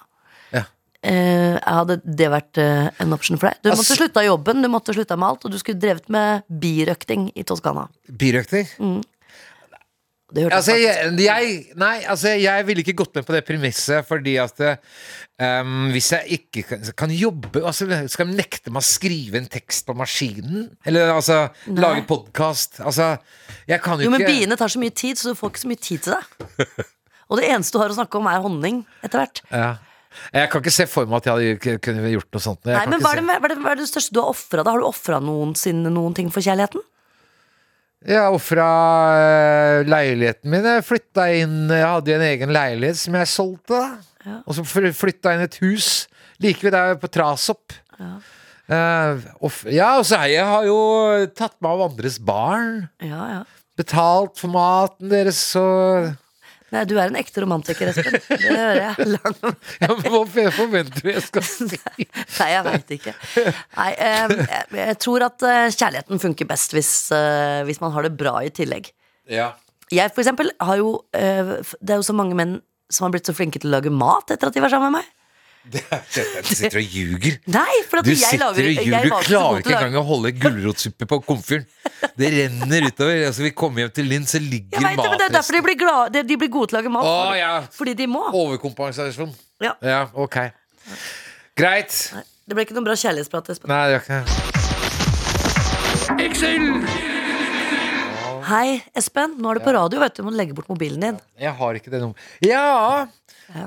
[SPEAKER 2] Ja.
[SPEAKER 3] Eh, hadde det vært eh, en option for deg? Du måtte
[SPEAKER 2] Altså-
[SPEAKER 3] slutte av jobben, du måtte slutte med alt, og du skulle drevet med birøkting i Toskana.
[SPEAKER 2] Birøkter?
[SPEAKER 3] Mm. Det hørtes
[SPEAKER 2] Altså,
[SPEAKER 3] faktisk-
[SPEAKER 2] jeg, jeg, nei, altså, jeg ville ikke gått med på det premisset, fordi at ehm, hvis jeg ikke kan, kan jobbe altså, Skal jeg nekte meg å skrive en tekst på maskinen? Eller altså lage podkast? Altså, jeg kan jo,
[SPEAKER 3] Jo, men
[SPEAKER 2] ikke
[SPEAKER 3] biene tar så mye tid, så du får ikke så mye tid til deg.
[SPEAKER 2] [laughs]
[SPEAKER 3] Og det eneste du har å snakke om, er honning etter hvert.
[SPEAKER 2] ja. Jeg kan ikke se for meg at jeg hadde kunne gjort noe sånt. Jeg
[SPEAKER 3] Nei,
[SPEAKER 2] kan
[SPEAKER 3] men
[SPEAKER 2] ikke
[SPEAKER 3] hva er,
[SPEAKER 2] se-
[SPEAKER 3] det, hva, er det, hva er det største du har ofra? Har du ofra noensinne noen ting for kjærligheten?
[SPEAKER 2] Jeg ofra eh, leiligheten min. Jeg flytta inn Jeg hadde jo en egen leilighet som jeg solgte. da Og så fly- flytta jeg inn et hus like ved der på Trasopp. Eh, off- ja, og så har jeg har jo tatt meg av andres barn.
[SPEAKER 3] Ja, ja.
[SPEAKER 2] Betalt for maten deres og
[SPEAKER 3] Nei, du er en ekte romantiker, Espen. Det hører [laughs] jeg. Lang
[SPEAKER 2] [laughs] ja, men Hva f- forventer du jeg skal
[SPEAKER 3] [laughs]
[SPEAKER 2] si?
[SPEAKER 3] Nei, jeg veit ikke. Nei, eh, jeg, jeg tror at eh, kjærligheten funker best hvis, eh, hvis man har det bra i tillegg.
[SPEAKER 2] Ja.
[SPEAKER 3] Jeg for eksempel har jo eh, f- Det er jo så mange menn som har blitt så flinke til å lage mat etter at de var sammen med meg.
[SPEAKER 2] Du sitter og ljuger.
[SPEAKER 3] Nei, for at
[SPEAKER 2] Du
[SPEAKER 3] jeg
[SPEAKER 2] sitter og
[SPEAKER 3] lager jeg
[SPEAKER 2] ljuger. Du
[SPEAKER 3] var så god
[SPEAKER 2] klarer
[SPEAKER 3] til
[SPEAKER 2] ikke
[SPEAKER 3] å lage-
[SPEAKER 2] engang å holde gulrotsuppe på komfyren. Det renner utover. Altså, vi kommer hjem til Linn, så ligger
[SPEAKER 3] Jeg vet det, men det er derfor de
[SPEAKER 2] matresten
[SPEAKER 3] blir, glad, de- de blir gode til å lage mat.
[SPEAKER 2] Å, ja.
[SPEAKER 3] Fordi de må.
[SPEAKER 2] Overkompensasjon.
[SPEAKER 3] Ja.
[SPEAKER 2] Ja, ok. Greit.
[SPEAKER 3] Det ble ikke noen bra kjærlighetsprat. Espen.
[SPEAKER 2] Nei, det gjør ikke det.
[SPEAKER 3] Hei, Espen. Nå er du på radio, vet du. Du må legge bort mobilen din.
[SPEAKER 2] Jeg har ikke det nummeret. Ja!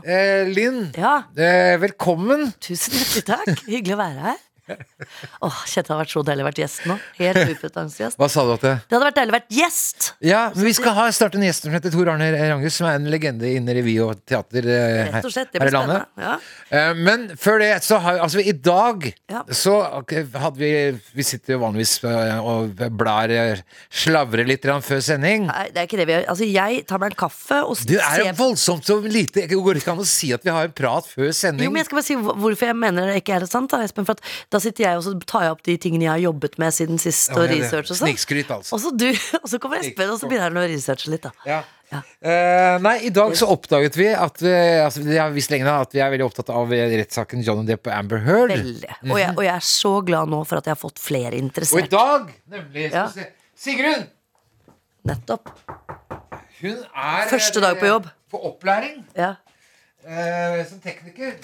[SPEAKER 2] Eh, Linn,
[SPEAKER 3] Ja,
[SPEAKER 2] eh, velkommen.
[SPEAKER 3] tusen hjertelig takk. Hyggelig å være her. Åh, Kjente det har vært så deilig å være gjest nå. Helt upretensiøst.
[SPEAKER 2] Hva sa du at det
[SPEAKER 3] Det hadde vært deilig å være gjest.
[SPEAKER 2] Ja, men vi skal ha snart en gjest som heter Tor Arne Rangus, som er en legende innen revy og teater eh,
[SPEAKER 3] Rett og slett. Det
[SPEAKER 2] her i
[SPEAKER 3] blir
[SPEAKER 2] landet.
[SPEAKER 3] spennende. Ja.
[SPEAKER 2] Eh, Men før det, så har altså i dag
[SPEAKER 3] Ja.
[SPEAKER 2] så ok, hadde vi Vi sitter jo vanligvis eh, og blar eh, Slavrer litt grann før sending.
[SPEAKER 3] Nei, det er ikke det vi gjør. Altså, jeg tar meg en kaffe og
[SPEAKER 2] Du er jo
[SPEAKER 3] ser
[SPEAKER 2] voldsomt så lite Det går ikke an å si at vi har en prat før sending.
[SPEAKER 3] Jo, men jeg skal bare si hvor- hvorfor jeg mener det ikke er sant, da, Espen. For at da sitter jeg og så tar jeg opp de tingene jeg har jobbet med siden sist, og
[SPEAKER 2] Ja, det-
[SPEAKER 3] research og sånn.
[SPEAKER 2] Snikskryt, altså.
[SPEAKER 3] Og så du, [laughs] og så kommer Espen, og så begynner han å researche litt, da.
[SPEAKER 2] Ja.
[SPEAKER 3] Ja.
[SPEAKER 2] Eh, nei, i dag så oppdaget vi at vi, altså, det har vi visst lenge nå, at vi er veldig opptatt av eh, rettssaken Johnny Depp og Amber Heard.
[SPEAKER 3] Veldig.
[SPEAKER 2] Mm.
[SPEAKER 3] Og jeg, og jeg er så glad nå for at jeg har fått flere
[SPEAKER 2] Og i
[SPEAKER 3] interessert.
[SPEAKER 2] dag, nemlig skal
[SPEAKER 3] Ja.
[SPEAKER 2] vi se. Sigrun!
[SPEAKER 3] Nettopp.
[SPEAKER 2] Hun er eh,
[SPEAKER 3] Første dag på jobb.
[SPEAKER 2] På opplæring
[SPEAKER 3] Ja.
[SPEAKER 2] eh, som tekniker.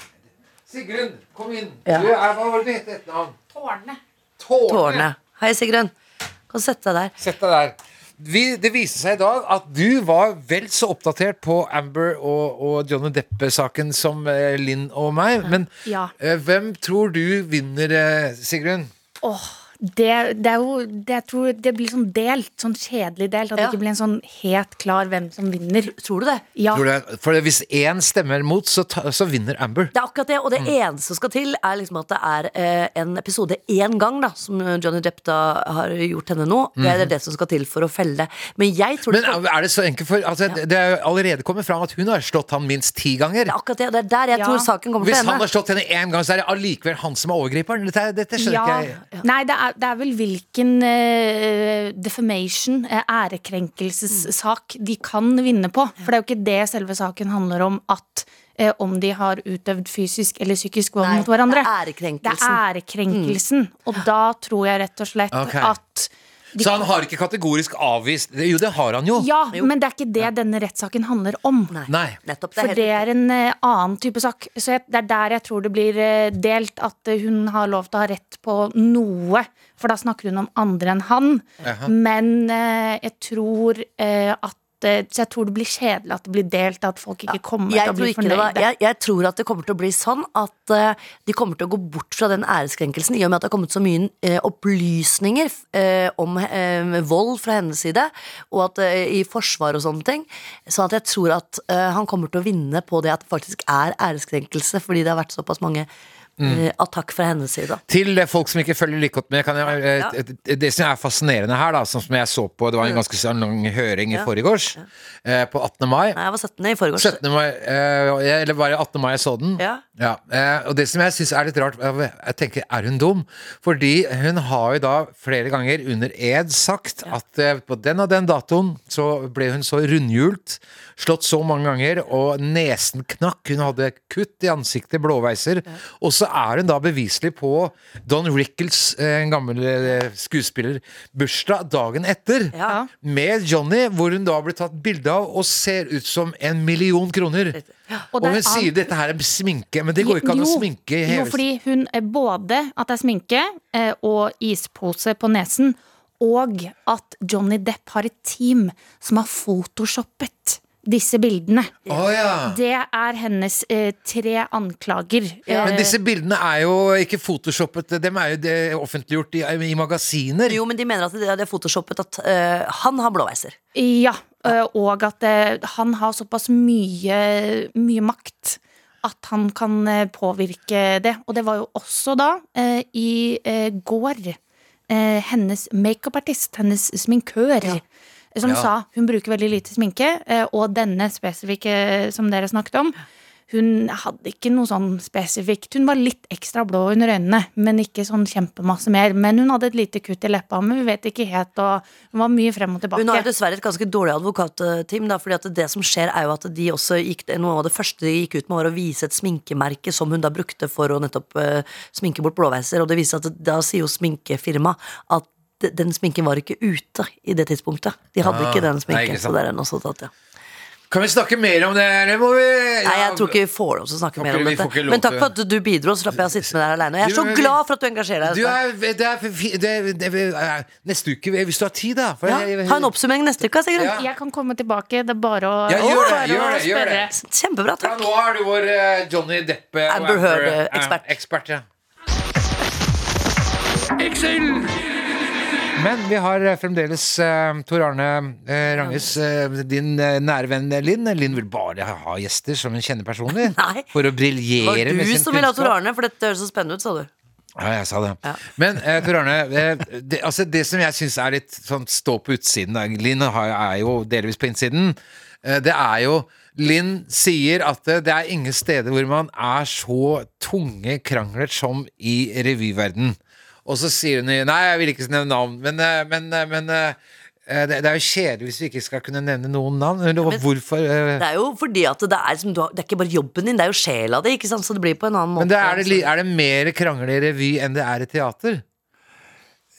[SPEAKER 2] Sigrun, kom inn.
[SPEAKER 3] Ja.
[SPEAKER 2] Du er, hva var det du het etter navn?
[SPEAKER 5] Tårne.
[SPEAKER 2] Tårne.
[SPEAKER 3] Tårene. Hei, Sigrun. Kan du sette deg der.
[SPEAKER 2] Sett deg der. Vi, det viste seg i dag at du var vel så oppdatert på Amber og, og Johnny Depp-saken som eh, Linn og meg. Men
[SPEAKER 5] Ja.
[SPEAKER 2] eh, hvem tror du vinner, eh, Sigrun?
[SPEAKER 5] Åh, det, det er jo det, Jeg tror det blir sånn delt, sånn kjedelig delt. At
[SPEAKER 3] Ja.
[SPEAKER 5] det ikke blir en sånn helt klar hvem som vinner.
[SPEAKER 3] Tror du det?
[SPEAKER 5] Ja.
[SPEAKER 2] Tror du det? For hvis én stemmer mot, så, ta, så vinner Amber.
[SPEAKER 3] Det er akkurat det, og
[SPEAKER 2] Mm.
[SPEAKER 3] det eneste som skal til, er liksom at det er eh, en episode én gang, da, som Johnny Depp da har gjort henne nå. Det er det som skal til for å felle det. Men jeg tror
[SPEAKER 2] Mhm. Men eh,
[SPEAKER 3] det,
[SPEAKER 2] er det så enkelt? For altså, det- det er jo allerede kommet fram at hun har slått han minst ti ganger.
[SPEAKER 3] det er akkurat det, og det er der jeg
[SPEAKER 5] Ja.
[SPEAKER 3] tror saken kommer
[SPEAKER 2] Hvis
[SPEAKER 3] til
[SPEAKER 2] han har
[SPEAKER 3] henne.
[SPEAKER 2] slått henne én gang, så er det allikevel han som er overgriperen. Dette, er- dette skjønner
[SPEAKER 5] Ja.
[SPEAKER 2] ikke jeg.
[SPEAKER 5] Nei, det er, det er vel hvilken eh, defamation, eh, ærekrenkelsessak, de kan vinne på. For det er jo ikke det selve saken handler om, at eh, om de har utøvd fysisk eller psykisk vold
[SPEAKER 3] Nei,
[SPEAKER 5] mot hverandre.
[SPEAKER 3] det er
[SPEAKER 5] Det er
[SPEAKER 3] ærekrenkelsen. Mm.
[SPEAKER 5] ærekrenkelsen. Og da tror jeg rett og slett
[SPEAKER 2] Ok. Sånn.
[SPEAKER 5] at de
[SPEAKER 2] Så han har ikke kategorisk avvist Jo, det har han jo.
[SPEAKER 5] Ja, men det er ikke det denne rettssaken handler om.
[SPEAKER 2] Nei.
[SPEAKER 3] Nettopp. Det er
[SPEAKER 5] For det
[SPEAKER 3] helt
[SPEAKER 5] er en eh, annen type sak. Så jeg, det er der jeg tror det blir eh, delt, at eh, hun har lov til å ha rett på noe. For da snakker hun om andre enn han.
[SPEAKER 2] Jaha.
[SPEAKER 5] Men eh, jeg tror eh, at eh, Så jeg tror det blir kjedelig at det blir delt, at folk ikke kommer
[SPEAKER 3] jeg
[SPEAKER 5] til å
[SPEAKER 3] tror,
[SPEAKER 5] bli
[SPEAKER 3] ikke det var,
[SPEAKER 5] fornøyde.
[SPEAKER 3] jeg, jeg tror at det kommer til å bli sånn at eh, de kommer til å gå bort fra den æreskrenkelsen i og med at det har kommet så mye eh, opplysninger eh, om eh, vold fra hennes side, og at eh, i forsvar og sånne ting. Sånn at jeg tror at eh, han kommer til å vinne på det at det faktisk er æreskrenkelse, fordi det har vært såpass mange eh, attakk fra hennes side.
[SPEAKER 2] Til eh, folk som ikke følger like godt med, kan jeg, eh,
[SPEAKER 3] Ja. Mm.
[SPEAKER 2] eh, det som er fascinerende her, da, sånn som jeg så på Det var en ganske sånn lang høring i forgårs, eh, på 18. mai.
[SPEAKER 3] Nei, jeg var 17 i forgårs.
[SPEAKER 2] 17. mai eh, Eller var det 18. mai jeg så den?
[SPEAKER 3] Ja.
[SPEAKER 2] eh, Og det som jeg syns er litt rart, eh, jeg tenker er hun dum? Fordi hun har jo da flere ganger under ed sagt at eh, på den og den datoen så ble hun så rundhjult, slått så mange ganger, og nesen knakk. Hun hadde kutt i ansiktet, blåveiser. Og så er hun da beviselig på Don Rickles, eh, en gammel eh, skuespiller, bursdag dagen etter
[SPEAKER 3] Ja.
[SPEAKER 2] med Johnny, hvor hun da blir tatt bilde av og ser ut som en million kroner. Og,
[SPEAKER 5] det er
[SPEAKER 2] hun
[SPEAKER 5] annet-
[SPEAKER 2] sier dette her er sminke, men det går ikke an å
[SPEAKER 5] Jo,
[SPEAKER 2] sminke i
[SPEAKER 5] Jo,
[SPEAKER 2] hele-
[SPEAKER 5] fordi hun eh, både at det er sminke eh, og ispose på nesen, og at Johnny Depp har et team som har photoshoppet disse bildene.
[SPEAKER 2] Å ja.
[SPEAKER 5] Det er hennes eh, tre anklager. Eh,
[SPEAKER 2] Men disse bildene er jo ikke photoshoppet, dem er jo det- offentliggjort i, i magasiner.
[SPEAKER 3] Jo, men de mener at det det er photoshoppet at eh, han har blåveiser.
[SPEAKER 5] ja, eh, og at eh, han har såpass mye, mye makt at han kan eh, påvirke det. Og det var jo også da, eh, i eh, går, eh, hennes makeupartist, hennes sminkør, som
[SPEAKER 2] Ja.
[SPEAKER 5] sa hun bruker veldig lite sminke, eh, og denne spesifikke som dere snakket om, hun hadde ikke noe sånn spesifikt. Hun var litt ekstra blå under øynene, men ikke sånn kjempemasse mer. Men hun hadde et lite kutt i leppa, men vi vet ikke helt, og hun var mye frem og tilbake.
[SPEAKER 3] Hun har jo dessverre et ganske dårlig advokatteam. Da, fordi at det som skjer er jo at de også gikk, Noe av det første de gikk ut med, var å vise et sminkemerke som hun da brukte for å nettopp eh, sminke bort blåveiser. Og det viser at da sier jo sminkefirmaet at de- den sminken var ikke ute i det tidspunktet. De hadde
[SPEAKER 2] Ah,
[SPEAKER 3] ikke den
[SPEAKER 2] nei,
[SPEAKER 3] sminken.
[SPEAKER 2] ikke
[SPEAKER 3] så
[SPEAKER 2] sant.
[SPEAKER 3] det er en også tatt, ja.
[SPEAKER 2] Kan vi snakke mer om det, eller må vi
[SPEAKER 3] Nei, Jeg tror ikke vi får lov til å snakke
[SPEAKER 2] Får
[SPEAKER 3] mer
[SPEAKER 2] ikke-
[SPEAKER 3] om
[SPEAKER 2] vi får ikke
[SPEAKER 3] dette.
[SPEAKER 2] lov
[SPEAKER 3] Men takk
[SPEAKER 2] til-
[SPEAKER 3] for at du bidro, så slapp jeg å sitte med deg aleine. Og jeg er
[SPEAKER 2] Du,
[SPEAKER 3] så
[SPEAKER 2] men vi-
[SPEAKER 3] glad for at du engasjerer
[SPEAKER 2] du
[SPEAKER 3] deg.
[SPEAKER 2] er, det er, fi- det er, det er, Neste uke, hvis du har tid, da. For
[SPEAKER 3] Ja,
[SPEAKER 2] jeg-
[SPEAKER 3] ha en oppsummering neste uke, Sigrun.
[SPEAKER 2] Ja.
[SPEAKER 5] Jeg kan komme tilbake, det er bare å,
[SPEAKER 2] Ja, gjør det,
[SPEAKER 5] bare å
[SPEAKER 2] gjør det, gjør
[SPEAKER 5] spørre.
[SPEAKER 2] det.
[SPEAKER 3] Kjempebra,
[SPEAKER 2] Ja,
[SPEAKER 3] takk.
[SPEAKER 2] nå er du vår eh, Johnny Depp eh, og
[SPEAKER 3] Amber Heard,
[SPEAKER 2] eh,
[SPEAKER 3] ekspert.
[SPEAKER 2] ekspert ja. Men vi har eh, fremdeles eh, Tor Arne eh, Ranges, eh, din eh, nære venn eh, Linn. Linn vil bare ha- ha gjester som hun kjenner personlig.
[SPEAKER 3] [laughs] Nei.
[SPEAKER 2] For
[SPEAKER 3] Det
[SPEAKER 2] å
[SPEAKER 3] var
[SPEAKER 2] briljere med
[SPEAKER 3] du
[SPEAKER 2] sin
[SPEAKER 3] som ville ha Tor
[SPEAKER 2] kunnskap.
[SPEAKER 3] Arne, for dette høres så spennende ut, sa du.
[SPEAKER 2] Ja, jeg sa det.
[SPEAKER 3] Ja.
[SPEAKER 2] Men eh, Tor Arne, eh, det, altså det som jeg syns er litt sånn stå på utsiden da, Linn har, er jo delvis på innsiden. Eh, det er jo Linn sier at eh, det, det er ingen steder hvor man er så tunge krangler som i revyverden. Og så sier hun i- Nei, jeg vil ikke nevne navn, men, eh, men, eh, men eh, eh, det, det er jo kjedelig hvis vi ikke skal kunne nevne noen navn. Hun- og hvorfor eh,
[SPEAKER 3] Det er jo fordi at det er, som du har, det er ikke bare jobben din, det er jo sjela di, ikke sant? Så det blir på en annen måte.
[SPEAKER 2] Men det er, det, li- er det mer krangler i revy enn det er i teater?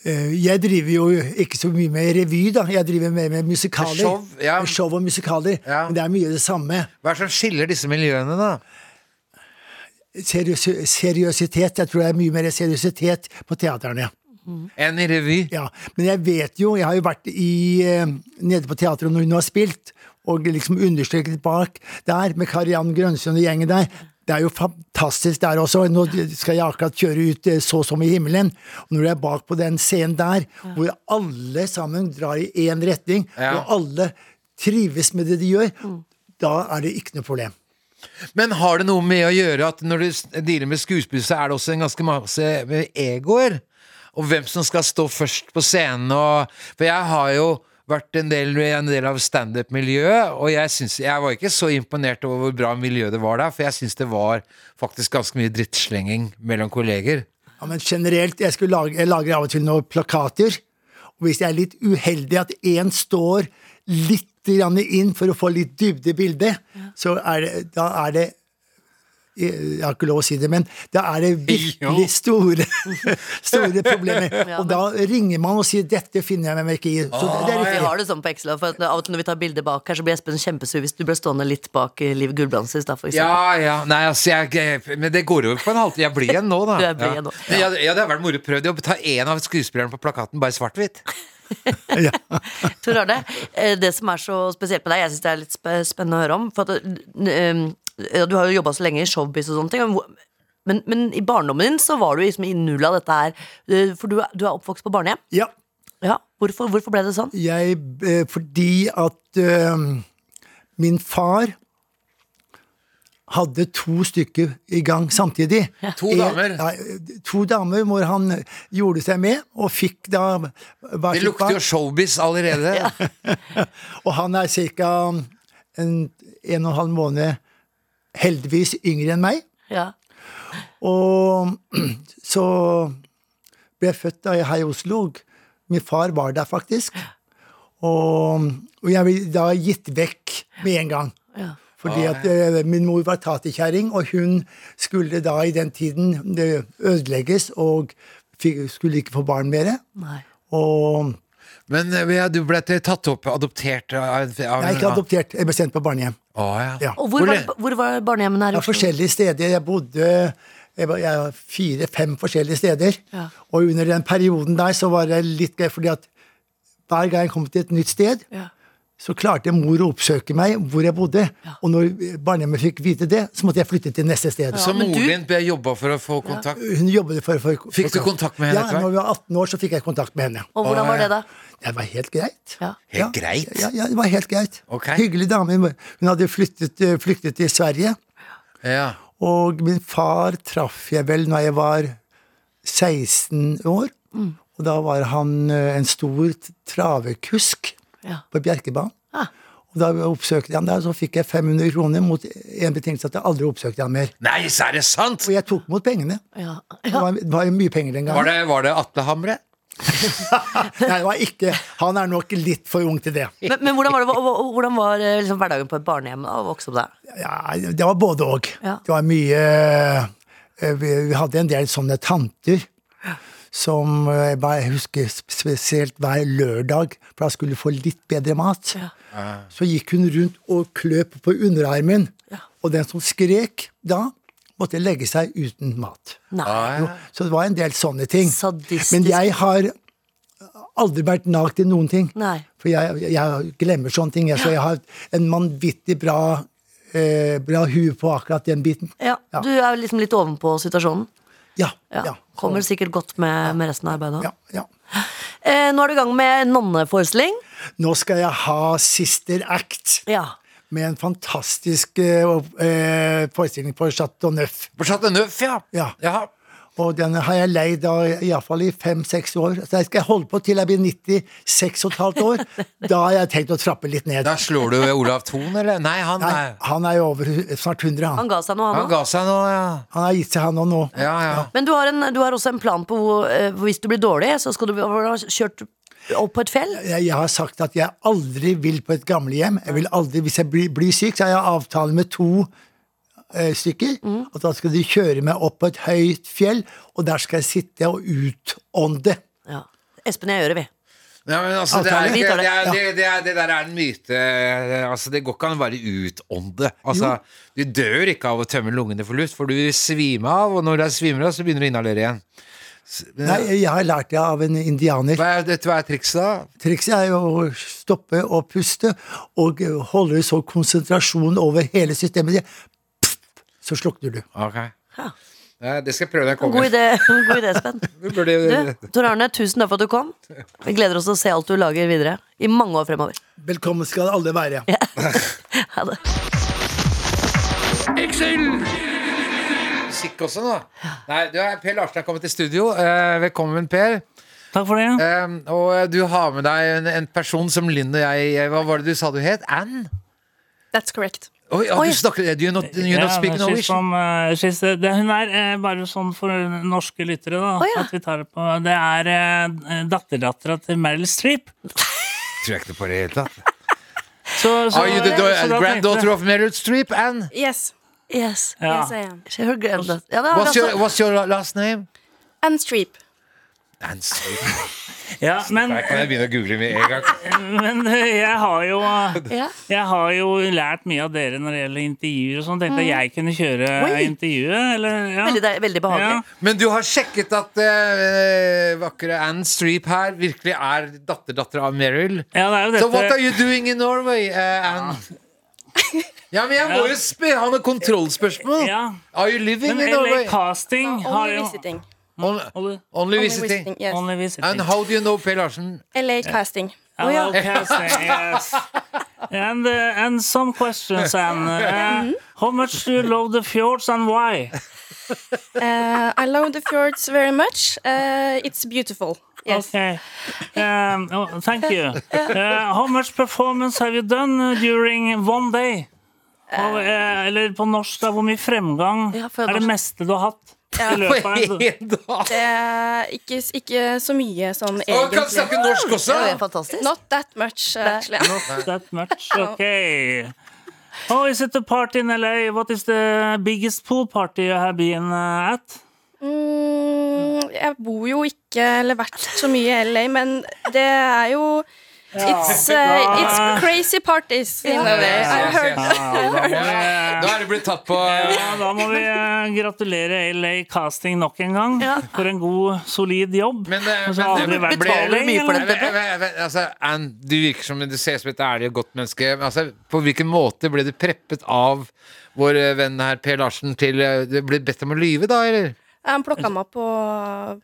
[SPEAKER 6] Eh, Jeg driver jo ikke så mye med revy, da. Jeg driver mer med musikaler.
[SPEAKER 2] Show, ja.
[SPEAKER 6] Med Show og musikaler.
[SPEAKER 2] Ja.
[SPEAKER 6] Men det er mye det samme.
[SPEAKER 2] Hva er det som skiller disse miljøene, da?
[SPEAKER 6] Seriøs seriøsitet. Jeg tror det er mye mer seriøsitet på teaterne.
[SPEAKER 2] Enn i revy?
[SPEAKER 6] Ja. Men jeg vet jo, jeg har jo vært i, eh, nede på teatret når hun har spilt, og liksom understreket bak der med Kariann Grønsund og gjengen der. Det er jo fantastisk der også. Nå skal jeg akkurat kjøre ut eh, Så som i himmelen. Og når jeg er bak på den scenen der, hvor alle sammen drar i én retning,
[SPEAKER 2] Ja.
[SPEAKER 6] og alle trives med det de gjør, da er det ikke noe problem.
[SPEAKER 2] Men har det noe med å gjøre at når du s- dealer med skuespill, så er det også en ganske masse med egoer? Og hvem som skal stå først på scenen og For jeg har jo vært en del, en del av standup-miljøet, og jeg, syns, jeg var ikke så imponert over hvor bra miljø det var der, for jeg syns det var faktisk ganske mye drittslenging mellom kolleger.
[SPEAKER 6] Ja, men generelt, jeg, skulle lage, jeg lager av og til noen plakater. Og hvis jeg er litt uheldig at én står litt grann inn for å få litt dybde i bildet, så er det, da er det jeg har ikke lov å si det, men da er det virkelig store, store problemer. Og da ringer man og sier 'dette finner jeg meg ikke i'. Så det, det er
[SPEAKER 3] Vi
[SPEAKER 6] riktig.
[SPEAKER 3] har det sånn på Excel, for at av og til når vi tar bilder bak her, så blir Espen kjempesur hvis du ble stående litt bak eh, Liv Gulbrandsen i stad, for eksempel.
[SPEAKER 2] Ja, ja, nei, altså, jeg, jeg, men det går over på en halvtime. Jeg blir igjen nå, da.
[SPEAKER 3] Du er blid igjen
[SPEAKER 2] ja.
[SPEAKER 3] nå.
[SPEAKER 2] Men Ja, det- ja, det har vært moro prøvd å ta én av skuespillerne på plakaten, bare svart-hvitt.
[SPEAKER 3] Tor Arne, eh, det som er så spesielt med deg, jeg syns det er litt spe- spennende å høre om. For at, eh, eh, du har jo jobba så lenge i showbiz og sånne ting. og hvor- Men, men i barndommen din så var du liksom i null av dette her. eh, For du, er- du er oppvokst på barnehjem.
[SPEAKER 6] Ja.
[SPEAKER 3] Ja, hvorfor, hvorfor ble det sånn?
[SPEAKER 6] Jeg, eh, fordi at eh, min far hadde to stykker i gang samtidig.
[SPEAKER 2] To
[SPEAKER 6] En-
[SPEAKER 2] damer?
[SPEAKER 6] Nei, to damer hvor han gjorde seg med, og fikk da hver
[SPEAKER 2] Det
[SPEAKER 6] sitt
[SPEAKER 2] lukter jo
[SPEAKER 6] barn.
[SPEAKER 2] showbiz
[SPEAKER 6] [laughs]
[SPEAKER 2] allerede.
[SPEAKER 6] Og han er ca. En, en og en halv måned heldigvis yngre enn meg.
[SPEAKER 3] Ja.
[SPEAKER 6] Og [clears throat] så ble jeg født da jeg her i Oslo. og Min far var der faktisk. Og, og jeg ble da gitt vekk med en gang. Fordi at eh, min mor var taterkjerring, og hun skulle da i den tiden eh, ødelegges og fikk, skulle ikke få barn mer.
[SPEAKER 3] Nei.
[SPEAKER 6] Og
[SPEAKER 2] Men eh, ja, du ble t- tatt opp, adoptert av, av
[SPEAKER 6] jeg er ikke adoptert, jeg ble sendt på barnehjem.
[SPEAKER 2] Å, ja.
[SPEAKER 6] Ja.
[SPEAKER 3] Og hvor,
[SPEAKER 2] Hvor
[SPEAKER 3] var,
[SPEAKER 2] le-
[SPEAKER 3] det- hvor var barnehjemmene her i
[SPEAKER 6] Ja,
[SPEAKER 3] Oslo?
[SPEAKER 6] forskjellige steder. Jeg bodde jeg var- jeg var fire-fem forskjellige steder.
[SPEAKER 3] Ja.
[SPEAKER 6] Og under den perioden der så var det litt gøy, fordi at hver gang jeg kom til et nytt sted,
[SPEAKER 3] Ja.
[SPEAKER 6] så klarte mor å oppsøke meg hvor jeg bodde. Og når barnehjemmet fikk vite det, så måtte jeg flytte til neste sted.
[SPEAKER 2] Så
[SPEAKER 3] men
[SPEAKER 2] moren
[SPEAKER 3] du-
[SPEAKER 2] din ble jobba for å få kontakt?
[SPEAKER 6] Hun jobbet for, for
[SPEAKER 2] Fikk du kontakt med henne etter
[SPEAKER 6] Ja,
[SPEAKER 2] hvert?
[SPEAKER 6] når vi var 18 år, så fikk jeg kontakt med henne.
[SPEAKER 3] Og hvordan var det, da?
[SPEAKER 6] Det var helt greit.
[SPEAKER 3] Ja.
[SPEAKER 2] Helt greit?
[SPEAKER 6] Ja, ja, det var helt greit.
[SPEAKER 2] Ok.
[SPEAKER 6] Hyggelig dame. Hun hadde flyttet, eh, flyktet til Sverige.
[SPEAKER 2] Ja.
[SPEAKER 6] Og min far traff jeg vel når jeg var 16 år. Og da var han eh, en stor t- travekusk
[SPEAKER 3] Ja.
[SPEAKER 6] på Bjerkebanen.
[SPEAKER 3] Ah.
[SPEAKER 6] Og da oppsøkte han der, og så fikk jeg 500 kroner mot en betingelse at jeg aldri oppsøkte han mer.
[SPEAKER 2] Nei, så er det sant!
[SPEAKER 6] Og jeg tok mot pengene.
[SPEAKER 3] Ja.
[SPEAKER 6] Det var, det var jo mye penger den
[SPEAKER 2] Var
[SPEAKER 6] gangen.
[SPEAKER 2] det, var det Atle Hamre?
[SPEAKER 6] Nei, det var ikke, han er nok litt for ung til det.
[SPEAKER 3] Men, men hvordan var, det, hva- hvordan var eh, liksom, hverdagen på et barnehjem da, å vokse opp der?
[SPEAKER 6] Ja, det var både og.
[SPEAKER 3] Ja.
[SPEAKER 6] Det var mye eh, Vi vi hadde en del sånne tanter som eh, jeg bare husker sp- spesielt hver lørdag, for da skulle du få litt bedre mat. Så gikk hun rundt og kløp på underarmen, og den som skrek da, måtte legge seg uten mat.
[SPEAKER 3] Nei.
[SPEAKER 2] Ja,
[SPEAKER 6] Jo,
[SPEAKER 2] ja.
[SPEAKER 6] Så det var en del sånne ting.
[SPEAKER 3] Sadistisk.
[SPEAKER 6] Men jeg har aldri vært nagt i noen ting.
[SPEAKER 3] Nei.
[SPEAKER 6] For jeg, jeg glemmer sånne ting. Jeg, så jeg har en vanvittig bra, eh, bra hue på akkurat den biten.
[SPEAKER 3] Ja,
[SPEAKER 6] Ja.
[SPEAKER 3] Du er liksom litt ovenpå situasjonen.
[SPEAKER 6] Ja.
[SPEAKER 3] Ja.
[SPEAKER 6] Ja.
[SPEAKER 3] Kommer sikkert godt med, med resten av arbeidet. også.
[SPEAKER 6] ja, ja.
[SPEAKER 3] Eh, nå er du i gang med nonneforestilling.
[SPEAKER 6] Nå skal jeg ha Sister Act
[SPEAKER 3] Ja.
[SPEAKER 6] med en fantastisk eh, opp- eh, forestilling på Chateau Neuf.
[SPEAKER 2] På Chateau Neuf, ja.
[SPEAKER 6] Ja.
[SPEAKER 2] Jaha.
[SPEAKER 6] Og den har jeg leid av iallfall i fem-seks år. Så jeg skal holde på til jeg blir 96 og et halvt år. Da har jeg tenkt å trappe litt ned.
[SPEAKER 2] Da slår du Olav Thon, eller? Nei, han,
[SPEAKER 6] Nei,
[SPEAKER 2] er-
[SPEAKER 6] han er jo over hu- snart 100, han.
[SPEAKER 3] Han ga seg noe,
[SPEAKER 2] han
[SPEAKER 3] han òg.
[SPEAKER 2] ga seg nå, ja.
[SPEAKER 6] Han har gitt seg, han òg nå.
[SPEAKER 2] Ja, ja.
[SPEAKER 3] Men du har, en, du har også en plan på hvor, eh, hvis du blir dårlig, så skal du ha kjørt opp på et fjell.
[SPEAKER 6] jeg, jeg har sagt at jeg aldri vil på et gamlehjem. Jeg vil aldri, hvis jeg blir, blir syk, så har jeg avtale med to eh, stykker. Og da skal de kjøre meg opp på et høyt fjell, og der skal jeg sitte og utånde.
[SPEAKER 3] Ja. Espen og jeg gjør det, vi.
[SPEAKER 2] Ja, men altså, det,
[SPEAKER 6] Avtale.
[SPEAKER 2] er,
[SPEAKER 3] Vi
[SPEAKER 2] det,
[SPEAKER 3] tar det.
[SPEAKER 2] er, det, det, er, det der er en myte. Altså, det går ikke an å bare utånde. Altså, du dør ikke av å tømme lungene for luft, for du svimer av, og når du er svimer av, så begynner du å inhalere igjen.
[SPEAKER 6] Nei, jeg har lært det av en indianer.
[SPEAKER 2] Hva er, vet du hva er trikset da?
[SPEAKER 6] Trikset er jo å stoppe og eh, puste, og holde så konsentrasjon over hele systemet. så slukner du.
[SPEAKER 2] Ok. Ja, det skal jeg prøve når jeg
[SPEAKER 3] God
[SPEAKER 2] kommer.
[SPEAKER 3] idé, [laughs] God idé Spenn.
[SPEAKER 2] Vi burde,
[SPEAKER 3] Du, Tor Arne, tusen takk for at du kom. Vi gleder oss til å se alt du lager videre i mange år fremover.
[SPEAKER 6] Velkommen skal alle være.
[SPEAKER 3] Ha det.
[SPEAKER 2] musikk også nå. Nei, du, eh, Per Larsen er kommet i studio. Eh, velkommen, Per.
[SPEAKER 7] Takk for det.
[SPEAKER 2] Eh, og du har med deg en, en person som Linn og jeg eh, Hva var det du sa du het? Ann?
[SPEAKER 8] That's correct.
[SPEAKER 2] Oi, ja, du snakker you not, you not speak
[SPEAKER 7] det er
[SPEAKER 2] Norwegian.
[SPEAKER 7] sist som, eh, sist, det, hun er eh, bare sånn for norske lyttere, da.
[SPEAKER 3] Å, ja.
[SPEAKER 7] at vi tar det, på, det er uh, datterdattera til Meryl Streep.
[SPEAKER 2] Tror jeg ikke på det i det hele tatt.
[SPEAKER 7] Så, så,
[SPEAKER 2] Are you the
[SPEAKER 7] Altså, så da tenkte
[SPEAKER 2] granddaughter
[SPEAKER 7] jeg-
[SPEAKER 2] of Meryl Streep, Ann?
[SPEAKER 8] Yes.
[SPEAKER 3] Yes.
[SPEAKER 7] ja.
[SPEAKER 8] Yes, I am.
[SPEAKER 3] She her granddaughter. Ja, det har
[SPEAKER 2] What's
[SPEAKER 3] vi
[SPEAKER 2] your,
[SPEAKER 3] altså.
[SPEAKER 2] what's your last name?
[SPEAKER 8] And Streep.
[SPEAKER 2] Ann Streep.
[SPEAKER 7] ja, men,
[SPEAKER 2] Nei, kan jeg begynne å google med en gang?
[SPEAKER 7] men eh, jeg har jo eh,
[SPEAKER 3] [laughs] Ja.
[SPEAKER 7] Jeg har jo lært mye av dere når det gjelder intervjuer og sånn. Tenkte jeg jeg kunne kjøre
[SPEAKER 3] Mm. Oi.
[SPEAKER 7] intervjuet, eller ja.
[SPEAKER 3] Veldig, deil- veldig behagelig.
[SPEAKER 7] Ja.
[SPEAKER 2] Men du har sjekket at eh, vakre Ann Streep her virkelig er datterdatter av Meryl?
[SPEAKER 7] Ja, det er jo
[SPEAKER 2] So what are
[SPEAKER 7] dette.
[SPEAKER 2] you doing in Norway, eh, Ann? Ja, men jeg må jo sp- ha noen kontrollspørsmål.
[SPEAKER 7] Ja.
[SPEAKER 2] Are you living
[SPEAKER 7] Men
[SPEAKER 2] in
[SPEAKER 7] LA
[SPEAKER 2] Norway?
[SPEAKER 7] Casting har
[SPEAKER 8] Only
[SPEAKER 7] jo
[SPEAKER 8] visiting.
[SPEAKER 2] On,
[SPEAKER 7] Only-
[SPEAKER 2] only
[SPEAKER 8] Only
[SPEAKER 2] visiting.
[SPEAKER 8] yes.
[SPEAKER 7] Only
[SPEAKER 2] And
[SPEAKER 7] visiting.
[SPEAKER 2] how do you know Per Larsen?
[SPEAKER 8] LA casting.
[SPEAKER 7] Hello, casting, yes. And, uh, and some questions, and uh, how much do you love the fjords and why?
[SPEAKER 8] Uh, I love the fjords very much. Uh, it's beautiful. Yes.
[SPEAKER 7] Okay. Um, oh, thank you.
[SPEAKER 3] [laughs]
[SPEAKER 7] Uh, how much performance have you done uh, during one day? Og, eh, eller på norsk, da, hvor mye fremgang
[SPEAKER 3] Uh. Ja, for
[SPEAKER 7] er det
[SPEAKER 3] norsk-
[SPEAKER 7] meste du har hatt? I
[SPEAKER 2] På
[SPEAKER 3] [laughs]
[SPEAKER 2] [laughs]
[SPEAKER 7] løpet av [laughs] en
[SPEAKER 2] en dag!
[SPEAKER 8] Det er Eh, ikke, ikke så mye sånn
[SPEAKER 2] Og han kan
[SPEAKER 8] egentlig.
[SPEAKER 2] snakke norsk også!
[SPEAKER 3] Det er fantastisk.
[SPEAKER 8] Not that much, uh, actually.
[SPEAKER 7] that much. Okay. Oh, is it a party in LA? What is the biggest pool party you have been uh, at?
[SPEAKER 8] Mm, jeg bor jo ikke eller vært så mye i LA, men det er jo It's, uh, it's crazy parties in LA. I've heard.
[SPEAKER 2] Da er det blitt tatt på
[SPEAKER 7] Ja, da må vi eh, gratulere LA Casting nok en gang for en god, solid jobb.
[SPEAKER 2] Men, eh,
[SPEAKER 7] Og så har
[SPEAKER 2] men-
[SPEAKER 7] aldri vært
[SPEAKER 2] Betaler
[SPEAKER 7] betaling,
[SPEAKER 3] mye for
[SPEAKER 7] eller?
[SPEAKER 3] dette?
[SPEAKER 2] Men- men- altså, Ann, du virker som du ser ut som et ærlig og godt menneske. Men altså, på hvilken måte ble du preppet av vår eh, venn her, Per Larsen, til eh, Du ble bedt om å lyve, da, eller?
[SPEAKER 8] Han plukka meg opp på,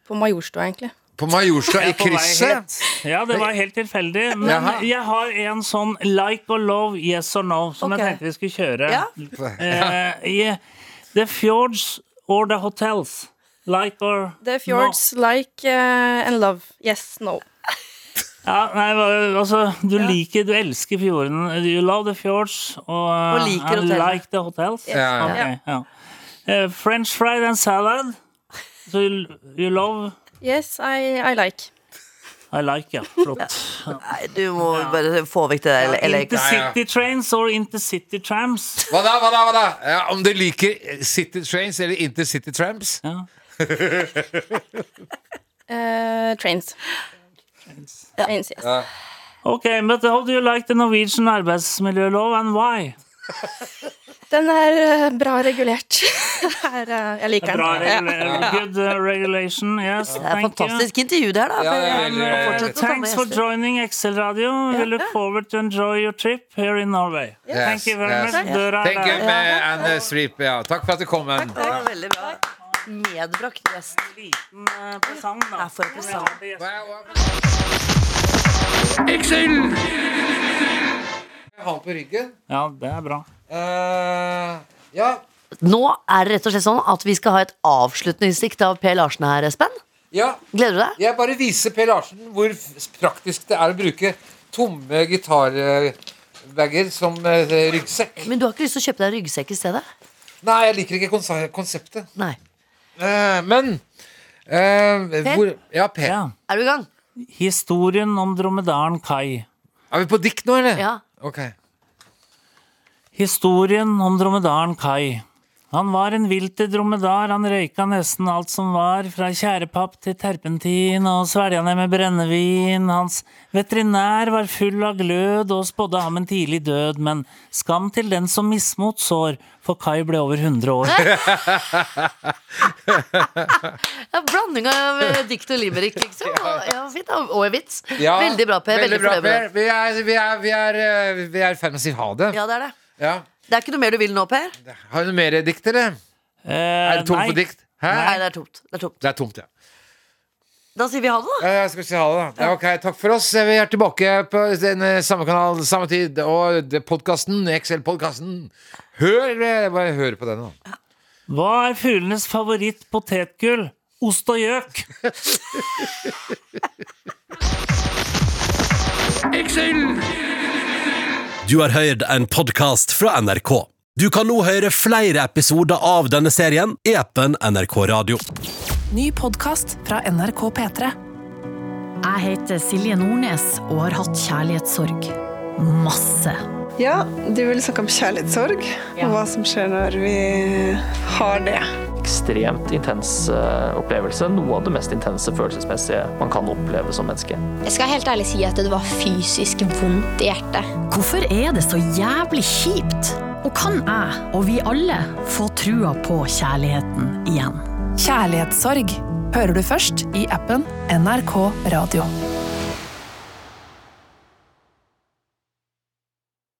[SPEAKER 8] på Majorstua, egentlig.
[SPEAKER 2] På Majorstua, i
[SPEAKER 7] På vei
[SPEAKER 2] krysset?
[SPEAKER 7] hit. Ja, det var helt tilfeldig. Men
[SPEAKER 2] Jaha.
[SPEAKER 7] jeg har en sånn like or love, yes or no, som
[SPEAKER 3] Ok.
[SPEAKER 7] jeg tenkte vi skulle kjøre.
[SPEAKER 3] Ja.
[SPEAKER 7] Eh, i the fjords or the hotels? Like or
[SPEAKER 8] The fjords like uh, and love. Yes, no.
[SPEAKER 7] no? Ja, nei, hva- altså, du liker, du elsker fjordene. You love the fjords og, eh,
[SPEAKER 3] Og liker
[SPEAKER 7] and
[SPEAKER 3] hotellene.
[SPEAKER 7] like the hotels.
[SPEAKER 2] Ja, ja.
[SPEAKER 7] Ok, ja. Eh, French fried and salad. So you, you love
[SPEAKER 8] Yes, I, I like.
[SPEAKER 7] I like, ja. Flott.
[SPEAKER 3] Nei, du må bare få vekk det der. Eller, eller,
[SPEAKER 7] Intercity trains or intercity trams?
[SPEAKER 2] Hva da, hva da, hva da? Ja, om du liker eh, City Trains eller Intercity Tramps?
[SPEAKER 7] Ja.
[SPEAKER 8] Uh, trains. Trains, yes.
[SPEAKER 7] Ok, but how do you like the Norwegian arbeidsmiljølov and why?
[SPEAKER 8] Den er eh, bra regulert. [laughs] Her, eh, jeg liker
[SPEAKER 7] Bra
[SPEAKER 8] den. Ja.
[SPEAKER 7] regula- good uh, regulation, yes.
[SPEAKER 3] det er
[SPEAKER 7] Thank you.
[SPEAKER 3] fantastisk intervju det her, da.
[SPEAKER 2] Ja, det er
[SPEAKER 3] Men,
[SPEAKER 2] veldig-
[SPEAKER 3] eh, fortsett å ta med
[SPEAKER 7] Thanks for
[SPEAKER 3] gjester.
[SPEAKER 7] joining Excel Radio. We look forward to enjoy your trip here in Norway. Thank you very
[SPEAKER 2] yes.
[SPEAKER 7] much. Døra er
[SPEAKER 2] Thank you,
[SPEAKER 7] der.
[SPEAKER 2] med Anne Streep. Ja. Takk for at du kom. Ann.
[SPEAKER 3] Det var veldig bra. Medbrakt gjest.
[SPEAKER 7] Liten eh, presang, da.
[SPEAKER 3] Ja, for en presang.
[SPEAKER 2] Jeg har den på ryggen.
[SPEAKER 7] Ja, det er bra.
[SPEAKER 2] Eh, ja.
[SPEAKER 3] Nå er det rett og slett sånn at vi skal ha et avslutningsdikt av Per Larsen her, Espen.
[SPEAKER 2] ja.
[SPEAKER 3] Gleder du deg?
[SPEAKER 2] Jeg bare viser Per Larsen hvor f- praktisk det er å bruke tomme gitarbager som eh, ryggsekk.
[SPEAKER 3] Men du har ikke lyst til å kjøpe deg en ryggsekk i stedet?
[SPEAKER 2] Nei, jeg liker ikke konse konseptet.
[SPEAKER 3] Nei.
[SPEAKER 2] Eh, men eh, hvor, Ja, Per.
[SPEAKER 7] Ja.
[SPEAKER 3] Er du i gang?
[SPEAKER 7] Historien om dromedaren Kai.
[SPEAKER 2] Er vi på dikt nå, eller?
[SPEAKER 3] Ja.
[SPEAKER 2] Ok.
[SPEAKER 7] Historien om dromedaren Kai. Han var en vilter dromedar, han røyka nesten alt som var, fra tjærepapp til terpentin og svelja ned med brennevin. Hans veterinær var full av glød og spådde ham en tidlig død, men skam til den som mismot sår, for Kai ble over 100 år.
[SPEAKER 3] Ja, blanding av [laughs] eh, dikt og limerick, liksom. Og, ja, fint, da. og en vits.
[SPEAKER 2] Ja,
[SPEAKER 3] veldig bra, Per. Veldig,
[SPEAKER 2] veldig bra,
[SPEAKER 3] fornøyd med deg.
[SPEAKER 2] Per. Vi er, vi, er, vi, er, eh, vi er i ferd med å si ha det.
[SPEAKER 3] Ja, det er det.
[SPEAKER 2] Ja.
[SPEAKER 3] Det er ikke noe mer du vil nå, Per?
[SPEAKER 2] Har du noe mer dikt, eller?
[SPEAKER 7] Eh,
[SPEAKER 2] Er det tomt for
[SPEAKER 7] nei.
[SPEAKER 2] dikt? Hæ?
[SPEAKER 3] Nei, det er tomt. Det er tomt.
[SPEAKER 2] Det er tomt, ja.
[SPEAKER 3] Da sier vi ha det, da.
[SPEAKER 2] Eh, skal vi si ha det, da. Ja, ok, takk for oss. Vi er tilbake på den eh, samme kanal, samme tid. Og podkasten, XL-podkasten. Hør, eh, bare hør på den, da.
[SPEAKER 7] Hva er fuglenes favoritt potetgull? Ost og gjøk.
[SPEAKER 9] Du har hørt en podkast fra NRK. Du kan nå høre flere episoder av denne serien i appen NRK Radio.
[SPEAKER 1] Ny podkast fra NRK P3.
[SPEAKER 4] Jeg heter Silje Nordnes og har hatt kjærlighetssorg. Masse.
[SPEAKER 10] Ja, du vil snakke om kjærlighetssorg og hva som skjer når vi har det.
[SPEAKER 11] ekstremt intens eh, opplevelse. Noe av det mest intense følelsesmessige man kan oppleve som menneske.
[SPEAKER 4] Jeg skal helt ærlig si at det var fysisk vondt i hjertet. Hvorfor er det så jævlig kjipt? Og kan jeg, og vi alle, få trua på kjærligheten igjen?
[SPEAKER 1] Kjærlighetssorg hører du først i appen NRK Radio.